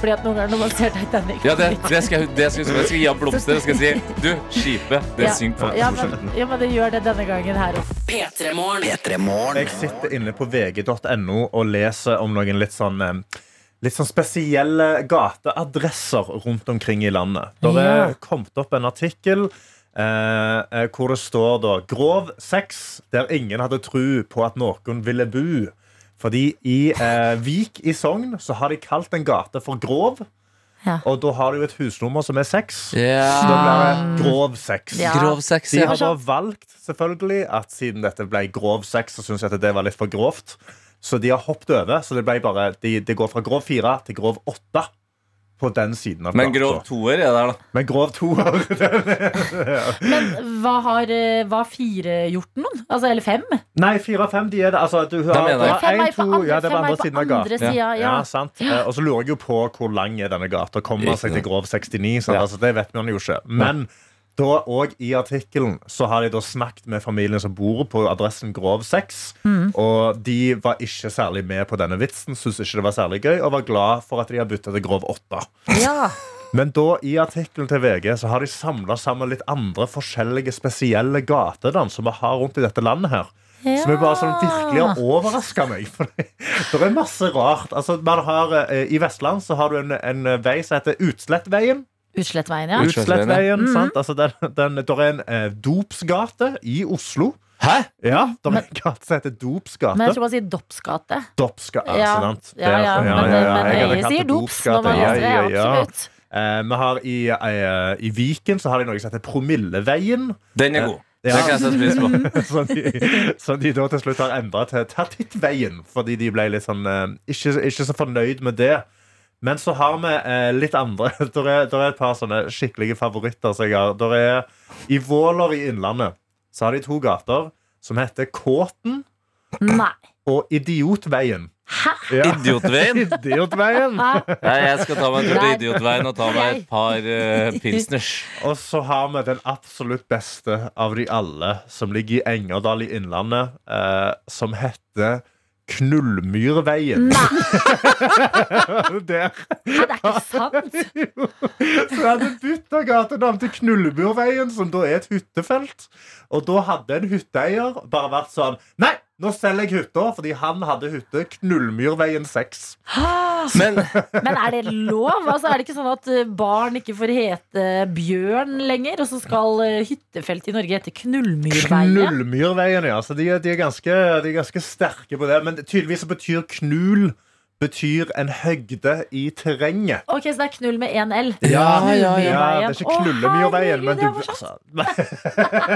Fordi at noen ganger når man ser Titanic
Ja, det, det skal jeg det skal, jeg huske. jeg skal gi henne blomster og skal si Du, skipet, det
Ja.
synger på.
ja, men, ja, men det gjør det denne gangen her også.
P3 Morgen.
Jeg sitter inne på vg.no og leser om noen litt sånn eh, Litt sånn spesielle gateadresser rundt omkring i landet. Det er kommet opp en artikkel eh, eh, hvor det står da 'Grov sex der ingen hadde tru på at noen ville bu'. Fordi i eh, Vik i Sogn så har de kalt en gate for Grov.
Ja.
Og da har de jo et husnummer som er seks. Så
Ja.
da blir det Grov sex.
Ja.
Grov sex,
De
ja.
har da valgt selvfølgelig at siden dette ble grov sex, så syns jeg at det var litt for grovt. Så de har hoppet over. Så det ble bare de, det går fra grov fire til grov åtte på den siden av
Men
plata.
grov toer er der, da.
Men grov toer
Men hva har eh, hva har fire gjort noen? Altså, eller fem?
Nei, fire og fem, de er det. Altså, du har,
mener
du har
jeg.
Fem
en,
er på
to
andre,
Ja, det
fem
var
er
andre
på
siden av
andre
gata.
siden, ja.
Ja, sant. Eh, Og så lurer jeg jo på hvor lang er denne gata. Kommer man seg til grov 69? Sant?
Ja.
Altså, det vet man jo ikke. Men da òg i artikkelen så har de da snakket med familien som bor på adressen Grov 6. Og de var ikke særlig med på denne vitsen, syntes ikke det var særlig gøy, og var glad for at de har bytta til Grov 8. Men da i artikkelen til VG så har de samla sammen litt andre forskjellige spesielle gater da, som vi har rundt i dette landet her. Som er bare sånn virkelig har overraska meg. For det, det er masse rart. Altså, man har, eh, I Vestland så har du en, en vei som heter Utslettveien.
Utslettveien, ja. Mm.
Utslettveien, sant? Altså, den, den, der er en eh, dopsgate i Oslo.
Hæ?
Ja, Det er en gate som heter
Men jeg
Dopsgate.
tror man sier Dopsgate.
Dopsgate,
Ja,
ikke sant?
ja, ja.
Der,
Men, eh, men
Jeg hadde
jeg
kalt
sier
det
dops når man
Ja,
leser det.
ja, ja.
Absolutt.
Eh, vi har i, eh, I Viken så har de noe som heter Promilleveien.
Den er god.
Ja.
Den kan jeg sette pris på.
Som de, som de da til slutt har endra til Tertittveien, fordi de ble litt sånn eh, ikke, ikke så fornøyd med det. Men så har vi eh, litt andre. Der er, der er et par sånne skikkelige favoritter som jeg har. Der er I Våler i Innlandet så har de to gater som heter Kåten
Nei.
og Idiotveien. Hæ? Ja.
Idiotveien.
Idiotveien.
Nei, jeg skal ta meg en tur til
Nei.
Idiotveien og ta meg et par eh, pilsners.
Og så har vi den absolutt beste av de alle, som ligger i Engerdal i Innlandet, eh, som heter Knullmyrveien. Der.
Hæ, det er ikke sant!
Så jeg hadde bytta gatenavn til Knullmyrveien, som da er et hyttefelt. Og da hadde en hytteeier bare vært sånn Nei, nå selger jeg hytta, fordi han hadde hytte Knullmyrveien 6.
Men
Ah! Men er det lov? Altså, er det ikke sånn at eh, barn ikke får hete bjørn lenger? Og så skal eh, hyttefelt i Norge hete Knullmyrveien?
Knullmyrveien, ja. Så de, er- de, er ganske, de er ganske sterke på det. Men tydeligvis så betyr knul betyr en høgde i terrenget.
Ok, så det er knull med én L.
Ja, ja, ja.
Ja, det er ikke
Å,
knullemyrveien, men du
herregud, det var
altså,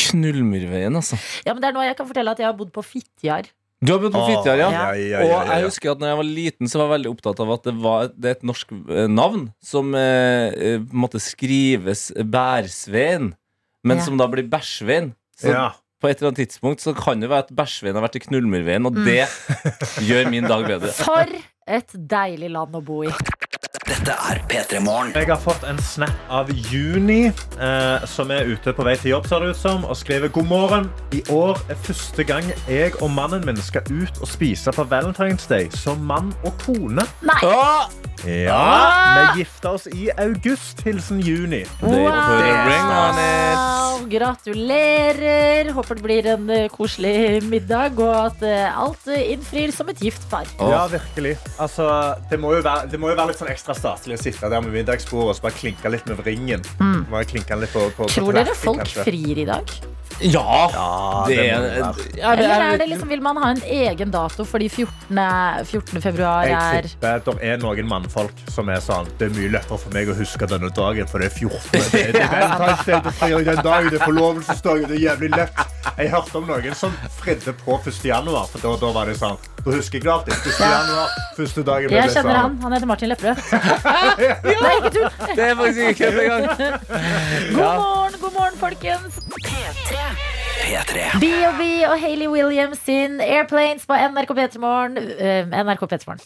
Knullmyrveien, altså.
Ja, men det er noe jeg kan fortelle at jeg har bodd på Fitjar.
Du har bodd på Fitjar, ja.
Å, ja, ja, ja,
Og
ja,
jeg
ja.
husker at når jeg var liten, så var jeg veldig opptatt av at det, var, det er et norsk eh, navn som eh, eh, på en måte skrives Bærsvein, men
Ja.
som da blir Bærsvein. Så
Ja.
på et eller annet tidspunkt så kan det være at Bærsvein har vært i
Mm.
Knullmyrveien, og det gjør min dag bedre.
For et deilig land å bo i.
Dette er P3 Morgen.
Jeg har fått en snap av Juni, eh, som er ute på vei til jobb, ser det ut som, og skriver god morgen. I år er første gang jeg og mannen min skal ut og spise på Valentine's Day som mann og kone.
Nei! Ah!
Ja, Vi gifta oss i august. Hilsen Juni.
Wow, gratulerer. Håper det blir en eh, koselig middag, og at eh, alt eh, innfrir som et gift par.
Ja, virkelig. Altså, det, må jo være, det må jo være litt sånn ekstra staselig å sitte der med middagsbordet og så bare klinke litt med ringen. Bare klinke den litt på, på, på
Mm. Tror dere
tallerken,
folk
kanskje.
frir i dag?
Ja! Det
det må
er
det være.
Ja, det
Eller er det
er-
liksom, vil man ha en egen dato fordi 14. 14. februar
Jeg
er
tipper at det er noen mannfolk som er sånn Det er mye lettere for meg å huske denne dagen, for det er 14. Det er- det er Valentine's Day, det er fridag den dagen, det er forlovelsesdagen, det er jævlig lett. Jeg hørte om noen som fridde på 1. januar, for da, da var det sånn Da husker jeg klart det. 1. januar, første dagen ble
Jeg
det
kjenner han.
sånn.
Han heter Martin Lepperød. Nei, ikke tull.
Det er faktisk ikke kødd engang.
God morgen, god morgen, folkens.
P3.
BOB og Hayley Williams sin Airplanes på NRK P3 Morgen. Eh, NRK P3 Morgen.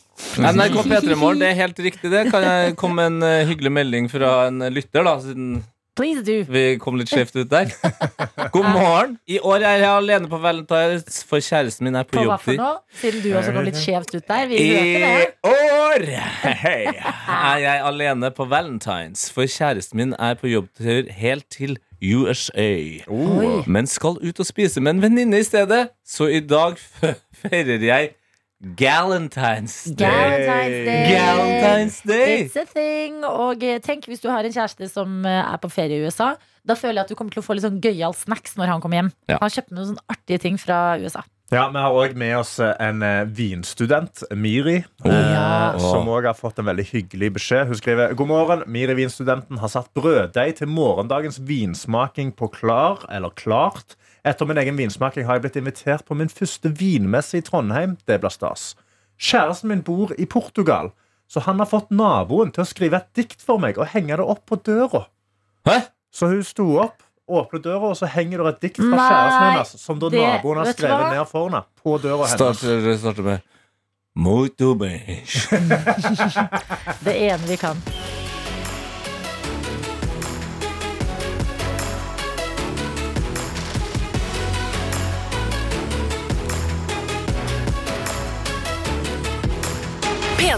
NRK P3 Morgen, det er helt riktig, det. Kan jeg komme med en eh, hyggelig melding fra en lytter, da, siden
Please do.
Vi kom litt skjevt ut der. God morgen. I år er jeg alene på valentines, for kjæresten min er på,
På hva
jobb.
for noe? Siden du også kom litt skjevt ut der. Vi hørte
I
det.
år hei, er jeg alene på valentines, for kjæresten min er på jobbtur helt til USA.
Oi.
Men skal ut og spise med en venninne i stedet, så i dag fe- feirer jeg Galentines Day.
Galentine's Day.
Galentine's Day.
It's a thing. Og eh, tenk hvis du har en kjæreste som eh, er på ferie i USA. Da føler jeg at du kommer til å få litt sånn gøyal snacks når han kommer hjem.
Ja.
Han kjøpte noen sånne artige ting fra USA.
Ja, Vi har òg med oss en eh, vinstudent, Miri, eh,
Ja.
som òg har fått en veldig hyggelig beskjed. Hun skriver God morgen. Miri vinstudenten har satt brøddeig til morgendagens vinsmaking på klar eller klart. Etter min egen vinsmaking har jeg blitt invitert på min første vinmesse i Trondheim. Det blir stas. Kjæresten min bor i Portugal, så han har fått naboen til å skrive et dikt for meg og henge det opp på døra.
Hæ?
Så hun sto opp, åpnet døra, og så henger det et dikt fra
Nei,
kjæresten hennes som da
det-
naboen har
vet du
skrevet
hva?
ned for henne. På døra hennes.
Starter, starter med Muito bem.
Det ene vi kan.